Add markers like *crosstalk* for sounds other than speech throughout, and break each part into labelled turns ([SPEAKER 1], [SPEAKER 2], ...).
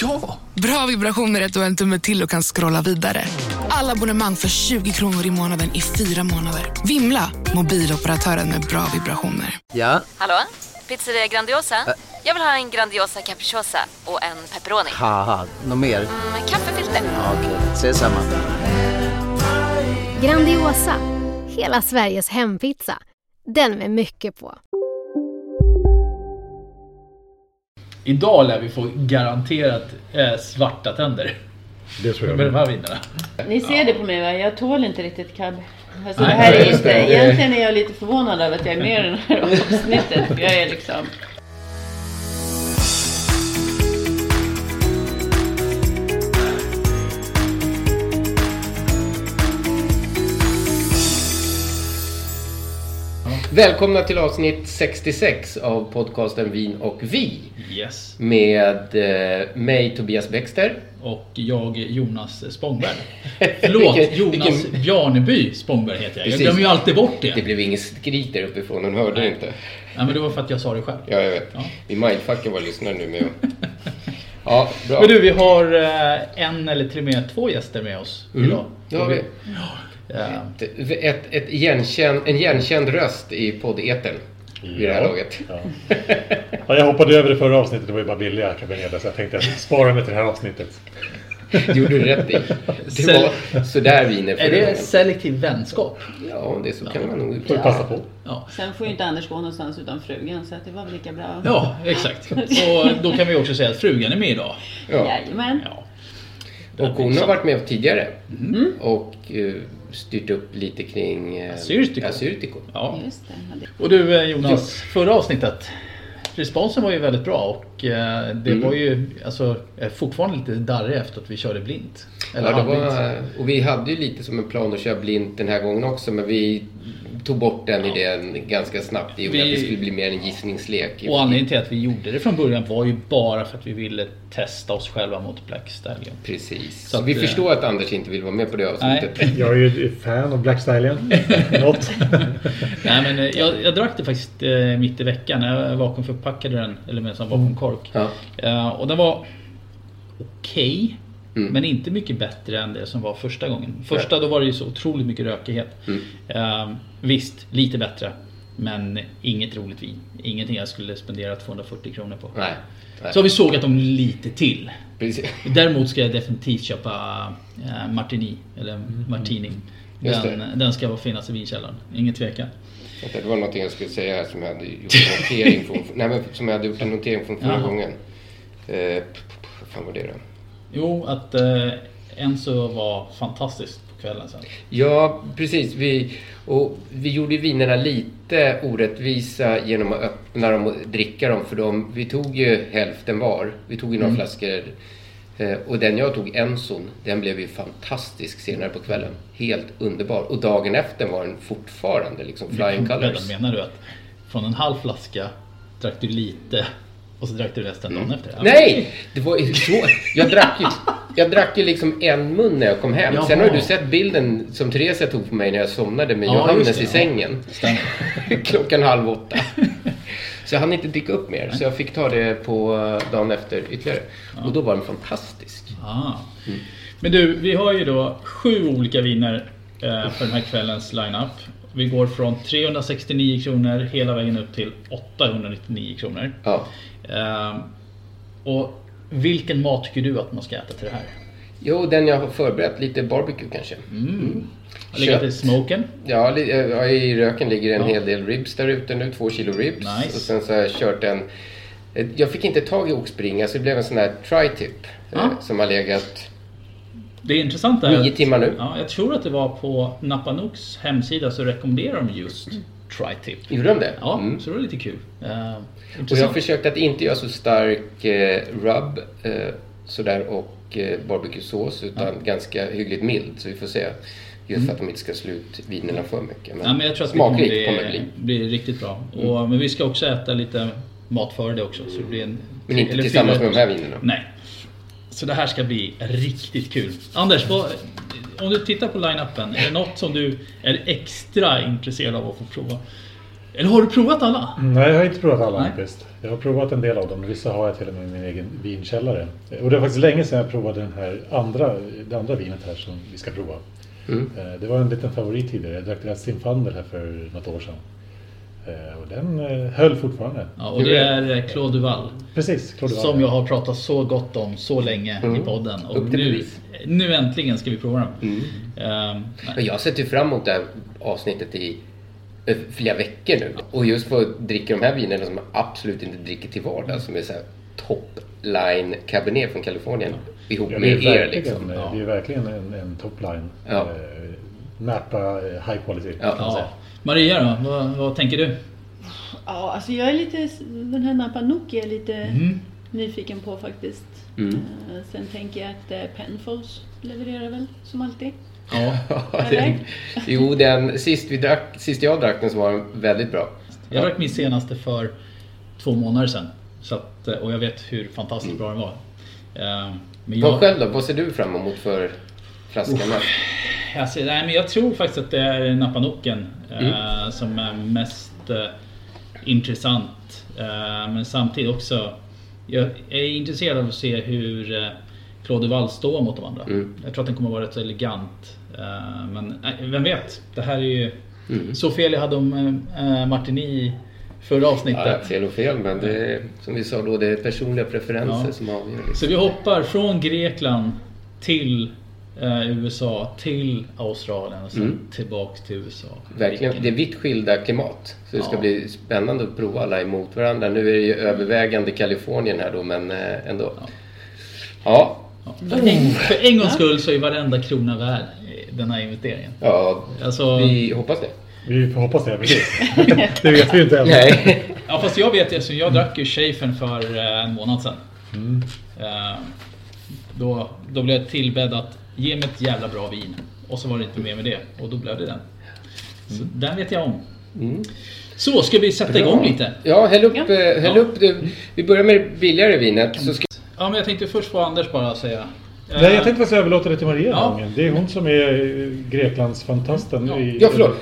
[SPEAKER 1] Ja!
[SPEAKER 2] Bra vibrationer är att du har en tumme till och kan scrolla vidare. Alla abonnemang för 20 kronor i månaden i fyra månader. Vimla! Mobiloperatören med bra vibrationer.
[SPEAKER 1] Ja,
[SPEAKER 3] Hallå? Pizzeria Grandiosa? Jag vill ha en Grandiosa capriciosa och en pepperoni.
[SPEAKER 1] haha, något mer?
[SPEAKER 3] Med kaffefilter.
[SPEAKER 1] Ja, Okej, ses samma.
[SPEAKER 4] Grandiosa, hela Sveriges hempizza. Den med mycket på.
[SPEAKER 5] Idag lär vi få garanterat eh, svarta tänder
[SPEAKER 6] Det tror jag.
[SPEAKER 5] med de här vinerna.
[SPEAKER 7] Ni ser det på mig va? Jag tål inte riktigt cab. Alltså,
[SPEAKER 5] Nej,
[SPEAKER 7] det här
[SPEAKER 5] jag
[SPEAKER 7] är
[SPEAKER 5] förstår.
[SPEAKER 7] inte,
[SPEAKER 5] Det är-
[SPEAKER 7] egentligen är jag lite förvånad över att jag är med i det här *laughs* avsnittet. för Jag är liksom...
[SPEAKER 6] Välkomna till avsnitt 66 av podcasten Vin och vi.
[SPEAKER 5] Yes.
[SPEAKER 6] Med eh, mig Tobias Bäckster.
[SPEAKER 5] Och jag Jonas
[SPEAKER 6] *laughs*
[SPEAKER 5] Spångberg. Förlåt,
[SPEAKER 6] Vilken-
[SPEAKER 5] Jonas
[SPEAKER 6] vilken-
[SPEAKER 5] Bjarneby Spångberg heter jag. Jag
[SPEAKER 6] Precis.
[SPEAKER 5] glömmer ju alltid bort det.
[SPEAKER 6] Det blev inget skrik där uppifrån, hon hörde
[SPEAKER 5] Nej.
[SPEAKER 6] inte.
[SPEAKER 5] Nej, men det var för att jag sa det själv.
[SPEAKER 6] Ja, jag vet.
[SPEAKER 5] Ja.
[SPEAKER 6] Vi mindfuckar våra lyssnare
[SPEAKER 5] *laughs*
[SPEAKER 6] nu med att- Ja, bra.
[SPEAKER 5] Men du, vi har eh, en eller till och med två gäster med oss idag.
[SPEAKER 6] Mm. det har vi.
[SPEAKER 5] Eh,
[SPEAKER 6] Ett, ett, ett igenkänd, en igenkänd röst i poddeten vid det här
[SPEAKER 8] Ja.
[SPEAKER 6] laget.
[SPEAKER 8] Ja. Ja, jag hoppade över det förra avsnittet, det var ju bara billiga Cabernet så jag tänkte att spara mig till det här avsnittet.
[SPEAKER 6] Det gjorde
[SPEAKER 5] *laughs*
[SPEAKER 6] du rätt i. Det
[SPEAKER 5] Sel-
[SPEAKER 6] var sådär viner
[SPEAKER 5] är
[SPEAKER 6] förra
[SPEAKER 5] det
[SPEAKER 6] gången.
[SPEAKER 5] selektiv vänskap?
[SPEAKER 6] Ja, det så kan man nog
[SPEAKER 8] Får vi passa på.
[SPEAKER 5] Ja.
[SPEAKER 7] Sen får ju inte Anders gå någonstans utan frugan så att det var väl lika bra.
[SPEAKER 5] ja, exakt. Och då kan vi också säga att frugan är med idag.
[SPEAKER 6] Ja.
[SPEAKER 7] Jajamän.
[SPEAKER 5] Ja.
[SPEAKER 6] Och hon har varit med tidigare
[SPEAKER 5] Mm.
[SPEAKER 6] och eh, styrt upp lite kring eh,
[SPEAKER 5] Assyrtiko.
[SPEAKER 6] Assyrtiko.
[SPEAKER 5] Ja.
[SPEAKER 7] Just det. Ja, det-
[SPEAKER 5] Och du eh, Jonas, förra avsnittet. Responsen var ju väldigt bra och eh, det
[SPEAKER 1] Mm.
[SPEAKER 5] var ju alltså, jag är fortfarande lite darrig efter att vi körde blint. Eller
[SPEAKER 6] Ja, det
[SPEAKER 5] halvblint.
[SPEAKER 6] var, och vi hade ju lite som en plan att köra blint den här gången också men vi tog bort den idén ganska snabbt. Det gjorde
[SPEAKER 5] Vi-
[SPEAKER 6] att det skulle bli mer en gissningslek.
[SPEAKER 5] Och anledningen till att vi gjorde det från början var ju bara för att vi ville testa oss själva mot Black Stallion.
[SPEAKER 6] Precis.
[SPEAKER 5] Så
[SPEAKER 6] Så
[SPEAKER 5] att,
[SPEAKER 6] vi
[SPEAKER 5] eh,
[SPEAKER 6] förstår att Anders inte vill vara med på det avsnittet.
[SPEAKER 5] Nej.
[SPEAKER 8] Jag är ju ett fan av Black Stallion. Något.
[SPEAKER 5] Nej, men eh, jag, jag drack det faktiskt eh, mitt i veckan. Jag vakuumförpackade den, eller med en sån
[SPEAKER 1] Mm.
[SPEAKER 5] vakuumkork.
[SPEAKER 6] Ja.
[SPEAKER 5] Eh, och den var okej.
[SPEAKER 6] Mm.
[SPEAKER 5] Men inte mycket bättre än det som var första gången. Första då var det ju så otroligt mycket rökighet. Eh, visst, lite bättre. Men inget roligt vin. Ingenting jag skulle spendera 240 kronor på.
[SPEAKER 6] Nej. Nej.
[SPEAKER 5] Så har vi sågat dem lite till.
[SPEAKER 6] Precis.
[SPEAKER 5] Däremot ska jag definitivt köpa eh, Martini. Eller Martini.
[SPEAKER 6] Just
[SPEAKER 5] Den,
[SPEAKER 6] det.
[SPEAKER 5] den ska vara finnas i vinkällaren. Ingen tvekan.
[SPEAKER 6] Det var någonting jag skulle säga här som jag hade gjort en notering från,
[SPEAKER 5] *laughs*
[SPEAKER 6] nej, men som jag hade gjort en notering från förra
[SPEAKER 5] Jaha.
[SPEAKER 6] gången. Eh, vad fan var det då?
[SPEAKER 5] Jo, att eh, Enzo var fantastisk på kvällen sen.
[SPEAKER 6] Ja, precis. Vi, och vi gjorde ju vinerna lite orättvisa genom att öppna dem och dricka dem. För de, vi tog ju hälften var. Vi tog ju
[SPEAKER 5] Mm.
[SPEAKER 6] några flaskor. Eh, Och den jag tog, Enson, den blev ju fantastisk senare på kvällen. Helt underbar. Och dagen efter var den fortfarande liksom flying colors.
[SPEAKER 5] Menar du att från en halv flaska drack du lite och så drack du resten dagen efter? Ja,
[SPEAKER 6] Nej! Det var ju så. Jag drack ju, jag drack ju liksom en mun när jag kom hem.
[SPEAKER 5] Jaha.
[SPEAKER 6] Sen har du sett bilden som Theresia tog på mig när jag somnade med
[SPEAKER 5] Ja, just
[SPEAKER 6] Johannes
[SPEAKER 5] det,
[SPEAKER 6] i
[SPEAKER 5] ja.
[SPEAKER 6] sängen.
[SPEAKER 5] Stämmer.
[SPEAKER 6] *laughs* Klockan halv åtta. Så jag hann inte dricka upp mer. Så jag fick ta det på eh, dagen efter ytterligare. Och då var den fantastisk. Mm.
[SPEAKER 5] Ah. Men du, vi har ju då sju olika viner eh, för den här kvällens lineup. Vi går från 369 kronor hela vägen upp till 899 kronor.
[SPEAKER 6] Ja.
[SPEAKER 5] Ehm, och vilken mat tycker du att man ska äta till det här?
[SPEAKER 6] Jo, den jag har förberett. Lite barbecue kanske.
[SPEAKER 5] Mm.
[SPEAKER 6] Mm.
[SPEAKER 5] Har legat i
[SPEAKER 6] Kött.
[SPEAKER 5] smoken?
[SPEAKER 6] Ja, li- eh, ja, i röken ligger en hel del ribs där ute nu. Två kilo ribs.
[SPEAKER 5] Nice.
[SPEAKER 6] Och sen så har jag kört en... eh, Jag fick inte tag i oxbringa så det blev en sån här tri-tip. eh,
[SPEAKER 5] Ja.
[SPEAKER 6] Som har legat...
[SPEAKER 5] Det är intressant det här.
[SPEAKER 6] Nio timmar nu.
[SPEAKER 5] Ja, jag tror att det var på Napanooks hemsida så rekommenderar de just tri-tip.
[SPEAKER 6] Gjorde de det?
[SPEAKER 5] Ja,
[SPEAKER 6] Mm.
[SPEAKER 5] så det var lite kul. Eh,
[SPEAKER 6] Och jag
[SPEAKER 5] intressant.
[SPEAKER 6] försökte att inte göra så stark eh, rub eh, sådär och eh, barbecuesås utan ganska hyggligt mild så vi får se. Just för att de inte ska slå ut vinerna för mycket.
[SPEAKER 5] Ja, men jag tror att
[SPEAKER 6] smakrikt
[SPEAKER 5] det
[SPEAKER 6] kommer
[SPEAKER 5] kommer
[SPEAKER 6] det bli.
[SPEAKER 5] bli, bli riktigt bra. Och, men vi ska också äta lite mat före det också. Så det blir en,
[SPEAKER 6] Men inte
[SPEAKER 5] eller
[SPEAKER 6] tillsammans
[SPEAKER 5] fyra-
[SPEAKER 6] med Alltså, de här vinerna.
[SPEAKER 5] Nej. Så det här ska bli riktigt kul. Anders, vad, om du tittar på line-upen. Är det något som du är extra intresserad av att få prova? Eller har du provat alla?
[SPEAKER 9] Nej, jag har inte provat alla
[SPEAKER 5] Nej.
[SPEAKER 9] faktiskt. Jag har provat en del av dem. Vissa har jag till och med i min egen vinkällare. Och det var faktiskt länge sedan jag provade den här andra, det andra vinet här som vi ska prova.
[SPEAKER 6] Mm.
[SPEAKER 9] Eh, Det var en liten favorit tidigare. Jag drack den här Zinfandel här för något år sedan. Eh, Och den eh, höll fortfarande.
[SPEAKER 5] Ja, och det är eh, Claude Duval.
[SPEAKER 9] Precis, Claude Duval,
[SPEAKER 5] Som
[SPEAKER 9] ja.
[SPEAKER 5] jag har pratat så gott om så länge i
[SPEAKER 6] Mm.
[SPEAKER 5] podden. Och
[SPEAKER 6] Upp till
[SPEAKER 5] nu,
[SPEAKER 6] bevis.
[SPEAKER 5] nu äntligen ska vi prova den. Ehm,
[SPEAKER 6] Men jag sätter ju fram emot det här avsnittet i eh, flera veckor nu. Och just få dricka de här vinerna som man absolut inte dricker till vardags. Som är så här top line cabernet från Kalifornien. Ihop
[SPEAKER 9] Ja,
[SPEAKER 6] med
[SPEAKER 9] det, är
[SPEAKER 6] er
[SPEAKER 9] verkligen,
[SPEAKER 6] liksom.
[SPEAKER 9] eh,
[SPEAKER 6] Ja.
[SPEAKER 9] det är verkligen en, en topline.
[SPEAKER 6] Ja.
[SPEAKER 9] Näpa eh, high quality.
[SPEAKER 6] Ja.
[SPEAKER 9] kan man säga.
[SPEAKER 5] ja. Maria då, vad, vad tänker du?
[SPEAKER 3] Ja, alltså jag är lite, den här Napa Nuki är jag lite nyfiken på faktiskt.
[SPEAKER 6] Mm.
[SPEAKER 3] Eh, Sen tänker jag att eh, Penfolds levererar väl som alltid.
[SPEAKER 5] Ja,
[SPEAKER 6] Ja, den, jo, den, sist, vi drack, sist jag drack den så var den väldigt bra.
[SPEAKER 5] Jag drack min senaste för två månader sedan. Så att, och jag vet hur fantastiskt bra den var. Ehm, Men
[SPEAKER 6] Vad själv då? Vad ser du fram emot för flaskan? här?
[SPEAKER 5] Jag, ser, nej, men jag tror faktiskt att det är Napanocken eh, som är mest eh, intressant. Eh, men samtidigt också, jag är intresserad av att se hur eh, Claude Wall står mot de andra.
[SPEAKER 6] Mm.
[SPEAKER 5] Jag tror att den kommer vara rätt så elegant. Eh, men eh, vem vet, det här är ju
[SPEAKER 6] Mm.
[SPEAKER 5] så fel jag hade om eh, Martini i förra avsnittet.
[SPEAKER 6] Ja, fel och fel, men det, är- som vi sa då, det är personliga preferenser
[SPEAKER 5] Ja.
[SPEAKER 6] som avgör. Liksom.
[SPEAKER 5] Så vi hoppar från Grekland till eh, USA, till Australien och sen tillbaks till USA.
[SPEAKER 6] Mm. Verkligen. Det är vitt skilda klimat. Så det ska
[SPEAKER 5] Ja.
[SPEAKER 6] bli spännande att prova alla emot varandra. Nu är det ju övervägande Kalifornien här då, men eh, ändå. Ja. Ja,
[SPEAKER 5] För en, för en gångs skull så är varenda krona värd eh, den här investeringen. Alltså-
[SPEAKER 6] vi hoppas det.
[SPEAKER 9] Vi får hoppas det, precis. det vet vi ju inte än.
[SPEAKER 6] Nej.
[SPEAKER 5] Ja fast jag vet ju, så jag drack ju Schäfern för eh, en månad sedan. Eh, Då, då blev jag tillbedd att ge mig ett jävla bra vin. Och så var det inte mer med det. Och då blev det den. Så den vet jag om. Så, ska vi sätta igång lite?
[SPEAKER 6] Ja, häll upp.
[SPEAKER 3] Ja.
[SPEAKER 6] eh, Häll
[SPEAKER 5] Ja.
[SPEAKER 6] upp det. Vi börjar med det billigare vinet. Så ska...
[SPEAKER 5] Ja men jag tänkte först få Anders bara säga. Eh,
[SPEAKER 9] Nej, jag tänkte faktiskt överlåta det till Maria
[SPEAKER 5] Ja.
[SPEAKER 9] ja. Det är hon som är eh, Greklandsfantasten.
[SPEAKER 5] Ja.
[SPEAKER 9] i-
[SPEAKER 6] Ja, förlåt.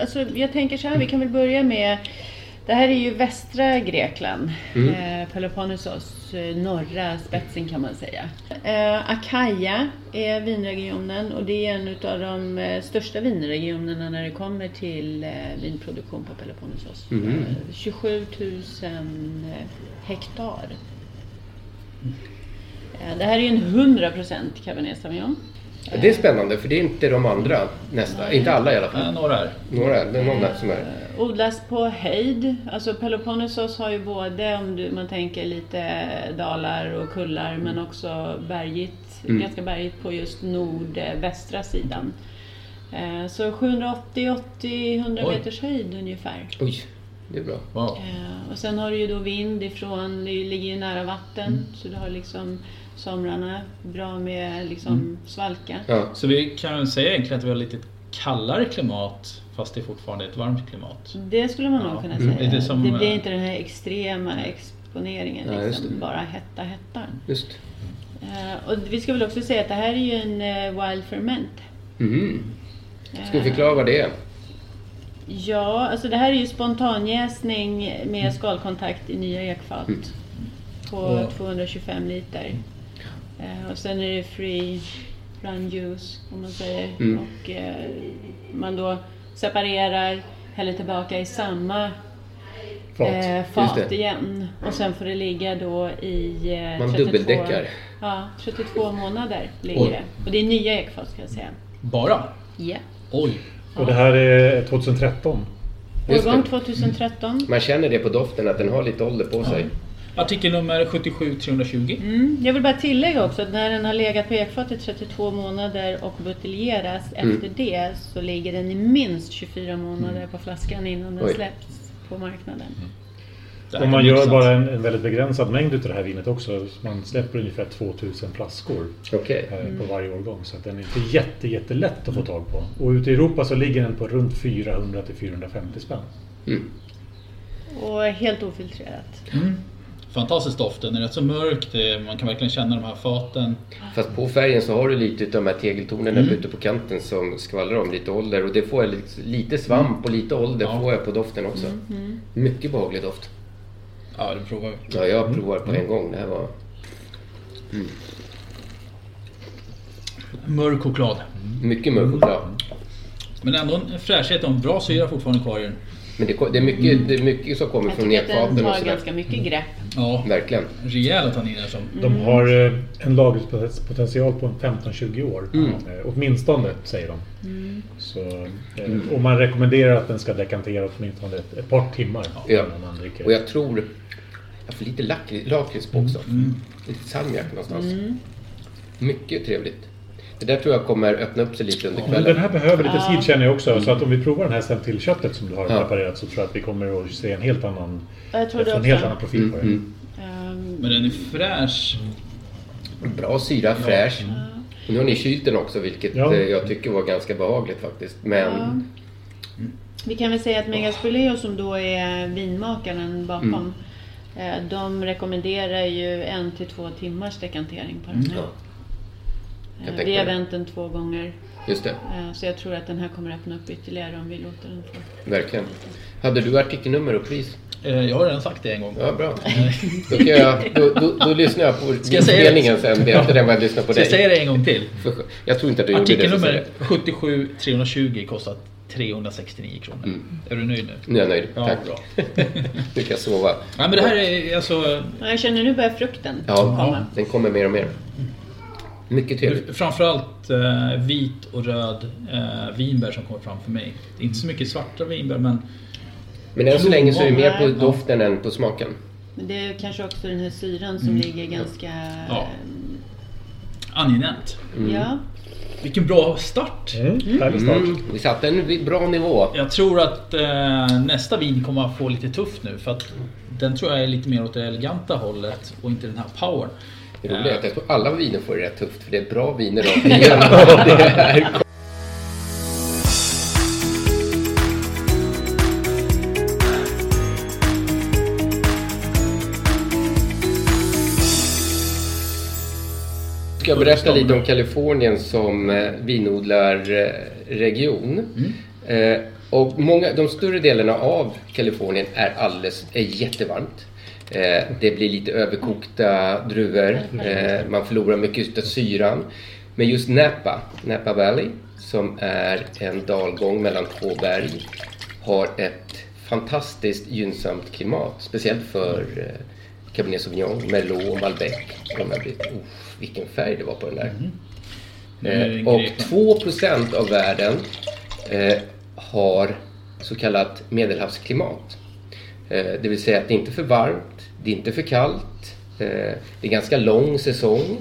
[SPEAKER 3] Alltså, jag tänker så här, vi kan väl börja med det här är ju västra Grekland, eh, Peloponnesos eh, norra spetsen kan man säga. Eh, Akaja är vinregionen och det är en av de eh, största vinregionerna när det kommer till eh, vinproduktion på Peloponnesos. Eh, 27 000 hektar. Eh, det här är ju en 100% Cabernet Sauvignon.
[SPEAKER 6] Det är spännande, för det är inte de andra nästa. Inte alla i alla
[SPEAKER 5] Eh,
[SPEAKER 6] fall.
[SPEAKER 5] Några här. Eh.
[SPEAKER 6] Några, det är någon där som är...
[SPEAKER 3] odlas på höjd. Alltså Peloponnesos har ju både, om du, man tänker lite dalar och kullar, men också bergigt, ganska bergigt på just nordvästra sidan. Eh, Så 780-100
[SPEAKER 5] Oj.
[SPEAKER 3] meters höjd ungefär.
[SPEAKER 6] Oj, det är bra.
[SPEAKER 5] Wow.
[SPEAKER 3] Eh, Och sen har du ju då vind ifrån, det ligger ju nära vatten, så du har liksom somrarna bra med liksom svalka.
[SPEAKER 6] Ja.
[SPEAKER 5] Så vi kan väl säga egentligen att vi har lite kallare klimat fast det är fortfarande ett varmt klimat.
[SPEAKER 3] Det skulle man nog
[SPEAKER 5] Ja.
[SPEAKER 3] kunna
[SPEAKER 5] Mm.
[SPEAKER 3] säga.
[SPEAKER 5] Lite som,
[SPEAKER 3] det blir
[SPEAKER 5] eh,
[SPEAKER 3] inte den här extrema exponeringen,
[SPEAKER 6] Nej, just
[SPEAKER 3] liksom,
[SPEAKER 6] det.
[SPEAKER 3] bara hetta hettar.
[SPEAKER 6] Just.
[SPEAKER 3] Eh, och vi ska väl också säga att det här är ju en eh, wild ferment.
[SPEAKER 6] Mhm. Ska
[SPEAKER 3] Eh.
[SPEAKER 6] vi förklara vad det är?
[SPEAKER 3] Ja, alltså det här är ju spontanjäsning
[SPEAKER 6] Mm.
[SPEAKER 3] med skalkontakt i nya ekfat på
[SPEAKER 5] Och-
[SPEAKER 3] 225 liter.
[SPEAKER 6] Mm.
[SPEAKER 3] Eh, och sen är det free run juice om man säger.
[SPEAKER 6] Mm.
[SPEAKER 3] Och eh, man då separerar, häller tillbaka i samma
[SPEAKER 9] Fat.
[SPEAKER 3] eh,
[SPEAKER 6] Just
[SPEAKER 3] fat
[SPEAKER 6] det.
[SPEAKER 3] igen. Och sen får det ligga då i eh,
[SPEAKER 6] Man
[SPEAKER 3] 32,
[SPEAKER 6] dubbeldäckar.
[SPEAKER 3] Ja, 32 månader ligger
[SPEAKER 5] Oj.
[SPEAKER 3] det. Och det är nya ekfat ska jag säga.
[SPEAKER 5] Bara?
[SPEAKER 3] Ja.
[SPEAKER 5] Oj.
[SPEAKER 9] Och det här är 2013.
[SPEAKER 6] Just
[SPEAKER 3] Årgång
[SPEAKER 6] det. Mm.
[SPEAKER 3] 2013.
[SPEAKER 6] Man känner det på doften att den har lite ålder på sig.
[SPEAKER 5] Artikel nummer 77320.
[SPEAKER 3] Mm. Jag vill bara tillägga också att när den har legat på ekfat i 32 månader och buteljeras
[SPEAKER 6] Mm.
[SPEAKER 3] efter det så ligger den i minst 24 månader på flaskan innan den
[SPEAKER 6] Oj.
[SPEAKER 3] släpps på marknaden.
[SPEAKER 9] Och man gör bara en, en väldigt begränsad mängd av det här vinet också. Man släpper ungefär 2000 flaskor
[SPEAKER 6] Okej.
[SPEAKER 9] eh,
[SPEAKER 6] Mm.
[SPEAKER 9] på varje årgång. Så att den är inte jätte, jättelätt att få tag på. Och ute i Europa så ligger den på runt 400 till 450 spänn.
[SPEAKER 6] Mm.
[SPEAKER 3] Och helt ofiltrerat.
[SPEAKER 5] Fantastisk doft, den är rätt så mörk, det, man kan verkligen känna de här faten.
[SPEAKER 6] Fast på färgen så har du lite av de här tegeltonerna
[SPEAKER 5] Mm.
[SPEAKER 6] ute på kanten som skvallrar om lite ålder. Och det får jag lite, lite svamp och lite ålder får jag på doften också.
[SPEAKER 5] Mm.
[SPEAKER 6] Mycket behaglig doft.
[SPEAKER 5] Ja, du provar. Mm.
[SPEAKER 6] Ja, jag provar på en gång. Det här var... Mm.
[SPEAKER 5] Mörk choklad. Mm.
[SPEAKER 6] Mycket mörk choklad.
[SPEAKER 5] Men ändå en fräschhet och en bra syra fortfarande kvar i den. Mm.
[SPEAKER 6] Men det, ko- det, är mycket, det är mycket som kommer
[SPEAKER 3] Jag
[SPEAKER 6] från
[SPEAKER 3] tycker att den
[SPEAKER 6] nekfaten och
[SPEAKER 3] tar
[SPEAKER 6] sådär. Mm.
[SPEAKER 3] ganska mycket grepp.
[SPEAKER 5] Ja,
[SPEAKER 6] Verkligen.
[SPEAKER 5] rejäla tanniner som...
[SPEAKER 9] De har eh, en lagringspotential på en 15-20 år.
[SPEAKER 5] Mm.
[SPEAKER 9] Eh, Åtminstone, säger de.
[SPEAKER 5] Mm.
[SPEAKER 9] Så, eh,
[SPEAKER 6] Mm.
[SPEAKER 9] Och man rekommenderar att den ska dekantera åtminstone ett, ett par timmar
[SPEAKER 6] Ja.
[SPEAKER 9] innan man dricker.
[SPEAKER 6] Och jag tror... Jag får lite lak- lakrits på också. Lite salmiak någonstans.
[SPEAKER 5] Mm.
[SPEAKER 6] Mycket trevligt. Det där tror jag kommer öppna upp sig lite under
[SPEAKER 9] Men
[SPEAKER 6] kvällen.
[SPEAKER 9] den här behöver lite tid känner jag också. Så
[SPEAKER 6] Mm.
[SPEAKER 9] att om vi provar den här sen till köttet som du har
[SPEAKER 6] Ja.
[SPEAKER 9] preparerat så tror jag att vi kommer att se en helt annan,
[SPEAKER 3] Jag tror det
[SPEAKER 9] en helt
[SPEAKER 3] också.
[SPEAKER 9] annan profil på den.
[SPEAKER 6] Mm.
[SPEAKER 3] Ehm,
[SPEAKER 5] Men den är fräsch.
[SPEAKER 6] Bra syra, fräsch. Nu har ni kylt den också vilket
[SPEAKER 9] Ja.
[SPEAKER 6] eh, jag tycker var ganska behagligt faktiskt. Men
[SPEAKER 3] Ja. Vi kan väl säga att Megaspoleo som då är vinmakaren bakom,
[SPEAKER 6] Mm.
[SPEAKER 3] eh, de rekommenderar ju en till två timmars dekantering på den här.
[SPEAKER 6] ja, Jag
[SPEAKER 3] Eh, Vi
[SPEAKER 6] tänker
[SPEAKER 3] har
[SPEAKER 6] det.
[SPEAKER 3] vänt den två gånger,
[SPEAKER 6] just det.
[SPEAKER 3] eh, så jag tror att den här kommer öppna upp ytterligare om vi låter den få.
[SPEAKER 6] Verkligen. Hade du artikelnummer och pris?
[SPEAKER 5] Eh, Jag har redan sagt det en gång.
[SPEAKER 6] Ja, bra. Då, kan jag, då, då, då lyssnar jag på
[SPEAKER 5] Ska jag säga det?
[SPEAKER 6] inspelningen sen. Det är inte den vad jag lyssnar på
[SPEAKER 5] Ska jag
[SPEAKER 6] dig.
[SPEAKER 5] säga det en gång till?
[SPEAKER 6] För- Jag tror inte att du gjorde det. så
[SPEAKER 5] Artikelnummer
[SPEAKER 6] säger
[SPEAKER 5] 77 320 kostat 369 kronor. Är du nöjd nu?
[SPEAKER 6] jag. Mm. Nu är jag nöjd.
[SPEAKER 5] Ja,
[SPEAKER 6] Tack.
[SPEAKER 5] bra.
[SPEAKER 6] *laughs* Nu kan jag sova.
[SPEAKER 5] Nej, men det här är alltså...
[SPEAKER 3] Ja, Jag känner nu börjar frukten
[SPEAKER 6] Ja, den kommer mer och mer. Mycket trevligt.
[SPEAKER 5] Framförallt eh, vit och röd eh, vinbär som kommer fram för mig. Det är inte så mycket svarta vinbär men...
[SPEAKER 6] Men än så länge så är det mer
[SPEAKER 3] Ja.
[SPEAKER 6] på doften än på smaken.
[SPEAKER 3] Men det är kanske också den här syran som
[SPEAKER 5] Mm.
[SPEAKER 3] ligger ganska... Mm.
[SPEAKER 5] Ja. Angenämt.
[SPEAKER 3] Ja.
[SPEAKER 5] Vilken bra start!
[SPEAKER 9] Härlig start.
[SPEAKER 6] Mm, vi satte en bra nivå.
[SPEAKER 5] Jag tror att eh, nästa vin kommer att få lite tufft nu för att den tror jag är lite mer åt det eleganta hållet och inte den här powern. Eh.
[SPEAKER 6] Det roliga är att jag tror alla viner får det rätt tufft för det är bra
[SPEAKER 5] *laughs*
[SPEAKER 6] viner rakt
[SPEAKER 5] Ja.
[SPEAKER 6] igenom. Det är- Ska jag berätta lite om Kalifornien som eh, vinodlarregion. Eh, Och många, de större delarna av Kalifornien är, alldeles, är jättevarmt. Eh, Det blir lite överkokta druvor. Eh, Man förlorar mycket av syran. Men just Napa, Napa Valley, som är en dalgång mellan två berg, har ett fantastiskt gynnsamt klimat. Speciellt för eh, Cabernet Sauvignon, Merlot, Malbec. Och de här blir- uff, vilken färg det var på den där.
[SPEAKER 5] Nu är det
[SPEAKER 6] Eh,
[SPEAKER 5] en
[SPEAKER 6] Och
[SPEAKER 5] grek.
[SPEAKER 6] 2% av världen eh, har så kallat medelhavsklimat. Eh, det vill säga att det är inte för varmt, det är inte för kallt, eh, det är ganska lång säsong,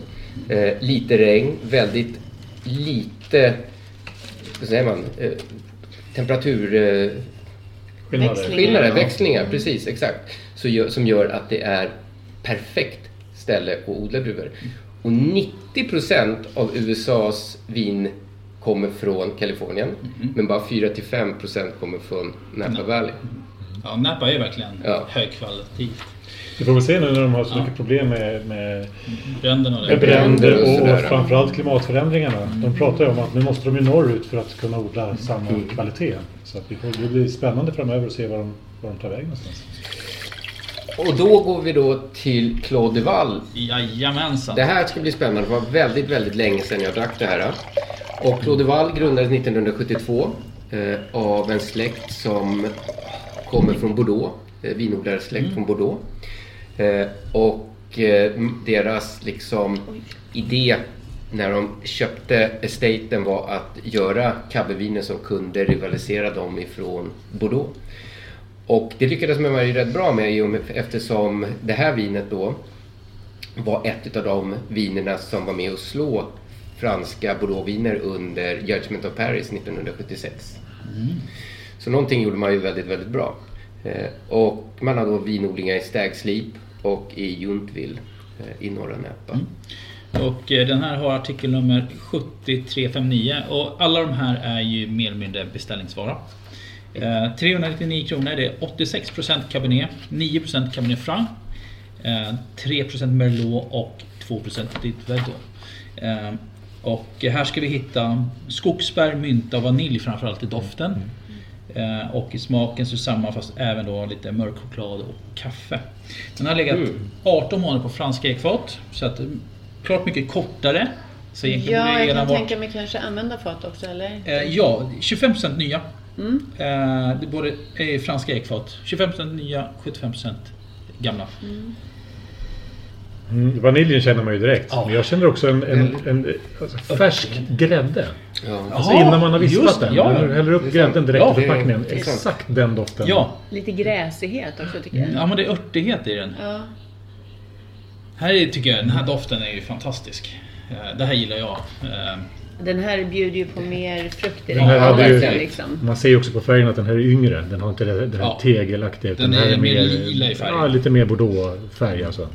[SPEAKER 6] eh, lite regn, väldigt lite vad säger man, eh, temperatur... Eh,
[SPEAKER 9] Skillnader.
[SPEAKER 3] Växling.
[SPEAKER 6] skillnader,
[SPEAKER 3] Ja.
[SPEAKER 6] växlingar, precis exakt. Så gör, som gör att det är perfekt ställe att odla druvor. Och 90% av USAs vin kommer från Kalifornien. Men bara 4-5% kommer från Napa Valley.
[SPEAKER 5] Ja, Napa är verkligen
[SPEAKER 6] Ja.
[SPEAKER 5] högkvalitativt.
[SPEAKER 9] Vi får väl se nu när de har så mycket problem med, med
[SPEAKER 5] Bränderna och det.
[SPEAKER 9] med bränder
[SPEAKER 6] och
[SPEAKER 9] och,
[SPEAKER 6] sådär.
[SPEAKER 9] och framförallt klimatförändringarna. De pratar ju om att nu måste de ju norrut för att kunna odla samma kvalitet. Så att vi får, det blir spännande framöver att se var de, var de tar vägen någonstans.
[SPEAKER 6] Och då går vi då till Claude de Val
[SPEAKER 5] Jajamensan.
[SPEAKER 6] Det här ska bli spännande. Det var väldigt, väldigt länge sedan jag drack det här. Och Claude Wall grundades 1972 eh, av en släkt som kommer från Bordeaux. Eh, vinodlarsläkt från Bordeaux. Eh, och eh, m- deras liksom idé när de köpte estaten var att göra kabbeviner som kunde rivalisera dem ifrån Bordeaux. Och det lyckades man ju rätt bra med i och med- eftersom det här vinet då var ett av de vinerna som var med och slå franska Bordeauxviner under
[SPEAKER 5] Mm.
[SPEAKER 6] Judgment of Paris 1976. Så någonting gjorde man ju väldigt, väldigt bra. Eh, Och man har då vinodlingar i Stagslip och i Juntville eh, i norra Näpa.
[SPEAKER 5] Mm. Och eh, den här har artikelnummer 7359 och alla de här är ju mer eller mindre beställningsvara. Eh, 399 kronor, det är 86% Cabernet, 9% Cabernet Franc, eh, 3% Merlot och 2% Ditved. då. Eh, Och här ska vi hitta skogsbär, mynta och vanilj framförallt i doften. Eh, Och i smaken så är det samma fast även då lite mörk choklad och kaffe. Den har legat
[SPEAKER 6] Mm.
[SPEAKER 5] 18 månader på franska ekfat. Så att mm, klart mycket kortare. Så egentligen borde
[SPEAKER 3] Ja,
[SPEAKER 5] det
[SPEAKER 3] jag
[SPEAKER 5] redan
[SPEAKER 3] kan
[SPEAKER 5] varit-
[SPEAKER 3] tänka mig kanske använda fat också, eller?
[SPEAKER 5] Eh, ja, 25% nya.
[SPEAKER 3] Mm.
[SPEAKER 5] Eh, det är både eh, franska ekfat. 25% nya, 75% gamla.
[SPEAKER 9] Mm, vaniljen känner man ju direkt. Men jag känner också en, en,
[SPEAKER 6] Mm.
[SPEAKER 9] en alltså, färsk grädde. Alltså
[SPEAKER 5] Jaha,
[SPEAKER 9] innan man har
[SPEAKER 5] just
[SPEAKER 9] vispat
[SPEAKER 5] det,
[SPEAKER 9] den.
[SPEAKER 5] ja,
[SPEAKER 9] När
[SPEAKER 5] ja.
[SPEAKER 9] du häller
[SPEAKER 5] Det
[SPEAKER 9] upp
[SPEAKER 5] är
[SPEAKER 9] grädden
[SPEAKER 5] sant.
[SPEAKER 9] direkt
[SPEAKER 5] Ja,
[SPEAKER 9] i förpackningen.
[SPEAKER 5] det är sant.
[SPEAKER 9] Exakt den doften.
[SPEAKER 5] Ja.
[SPEAKER 3] Lite gräsighet också tycker jag.
[SPEAKER 5] ja, men det är örtighet i den.
[SPEAKER 3] Ja.
[SPEAKER 5] Här är, tycker jag den här doften är ju fantastisk. Eh, det här gillar jag. Eh,
[SPEAKER 3] Den här bjuder ju på mer frukt
[SPEAKER 9] Den här hade ju,
[SPEAKER 3] liksom.
[SPEAKER 9] Man ser ju också på färgen att den här är yngre. Den har inte det det här
[SPEAKER 5] Ja.
[SPEAKER 9] tegelaktiga. utan
[SPEAKER 5] Den
[SPEAKER 9] här
[SPEAKER 5] är mer lila i färgen.
[SPEAKER 9] Ja, lite mer bordeauxfärg alltså.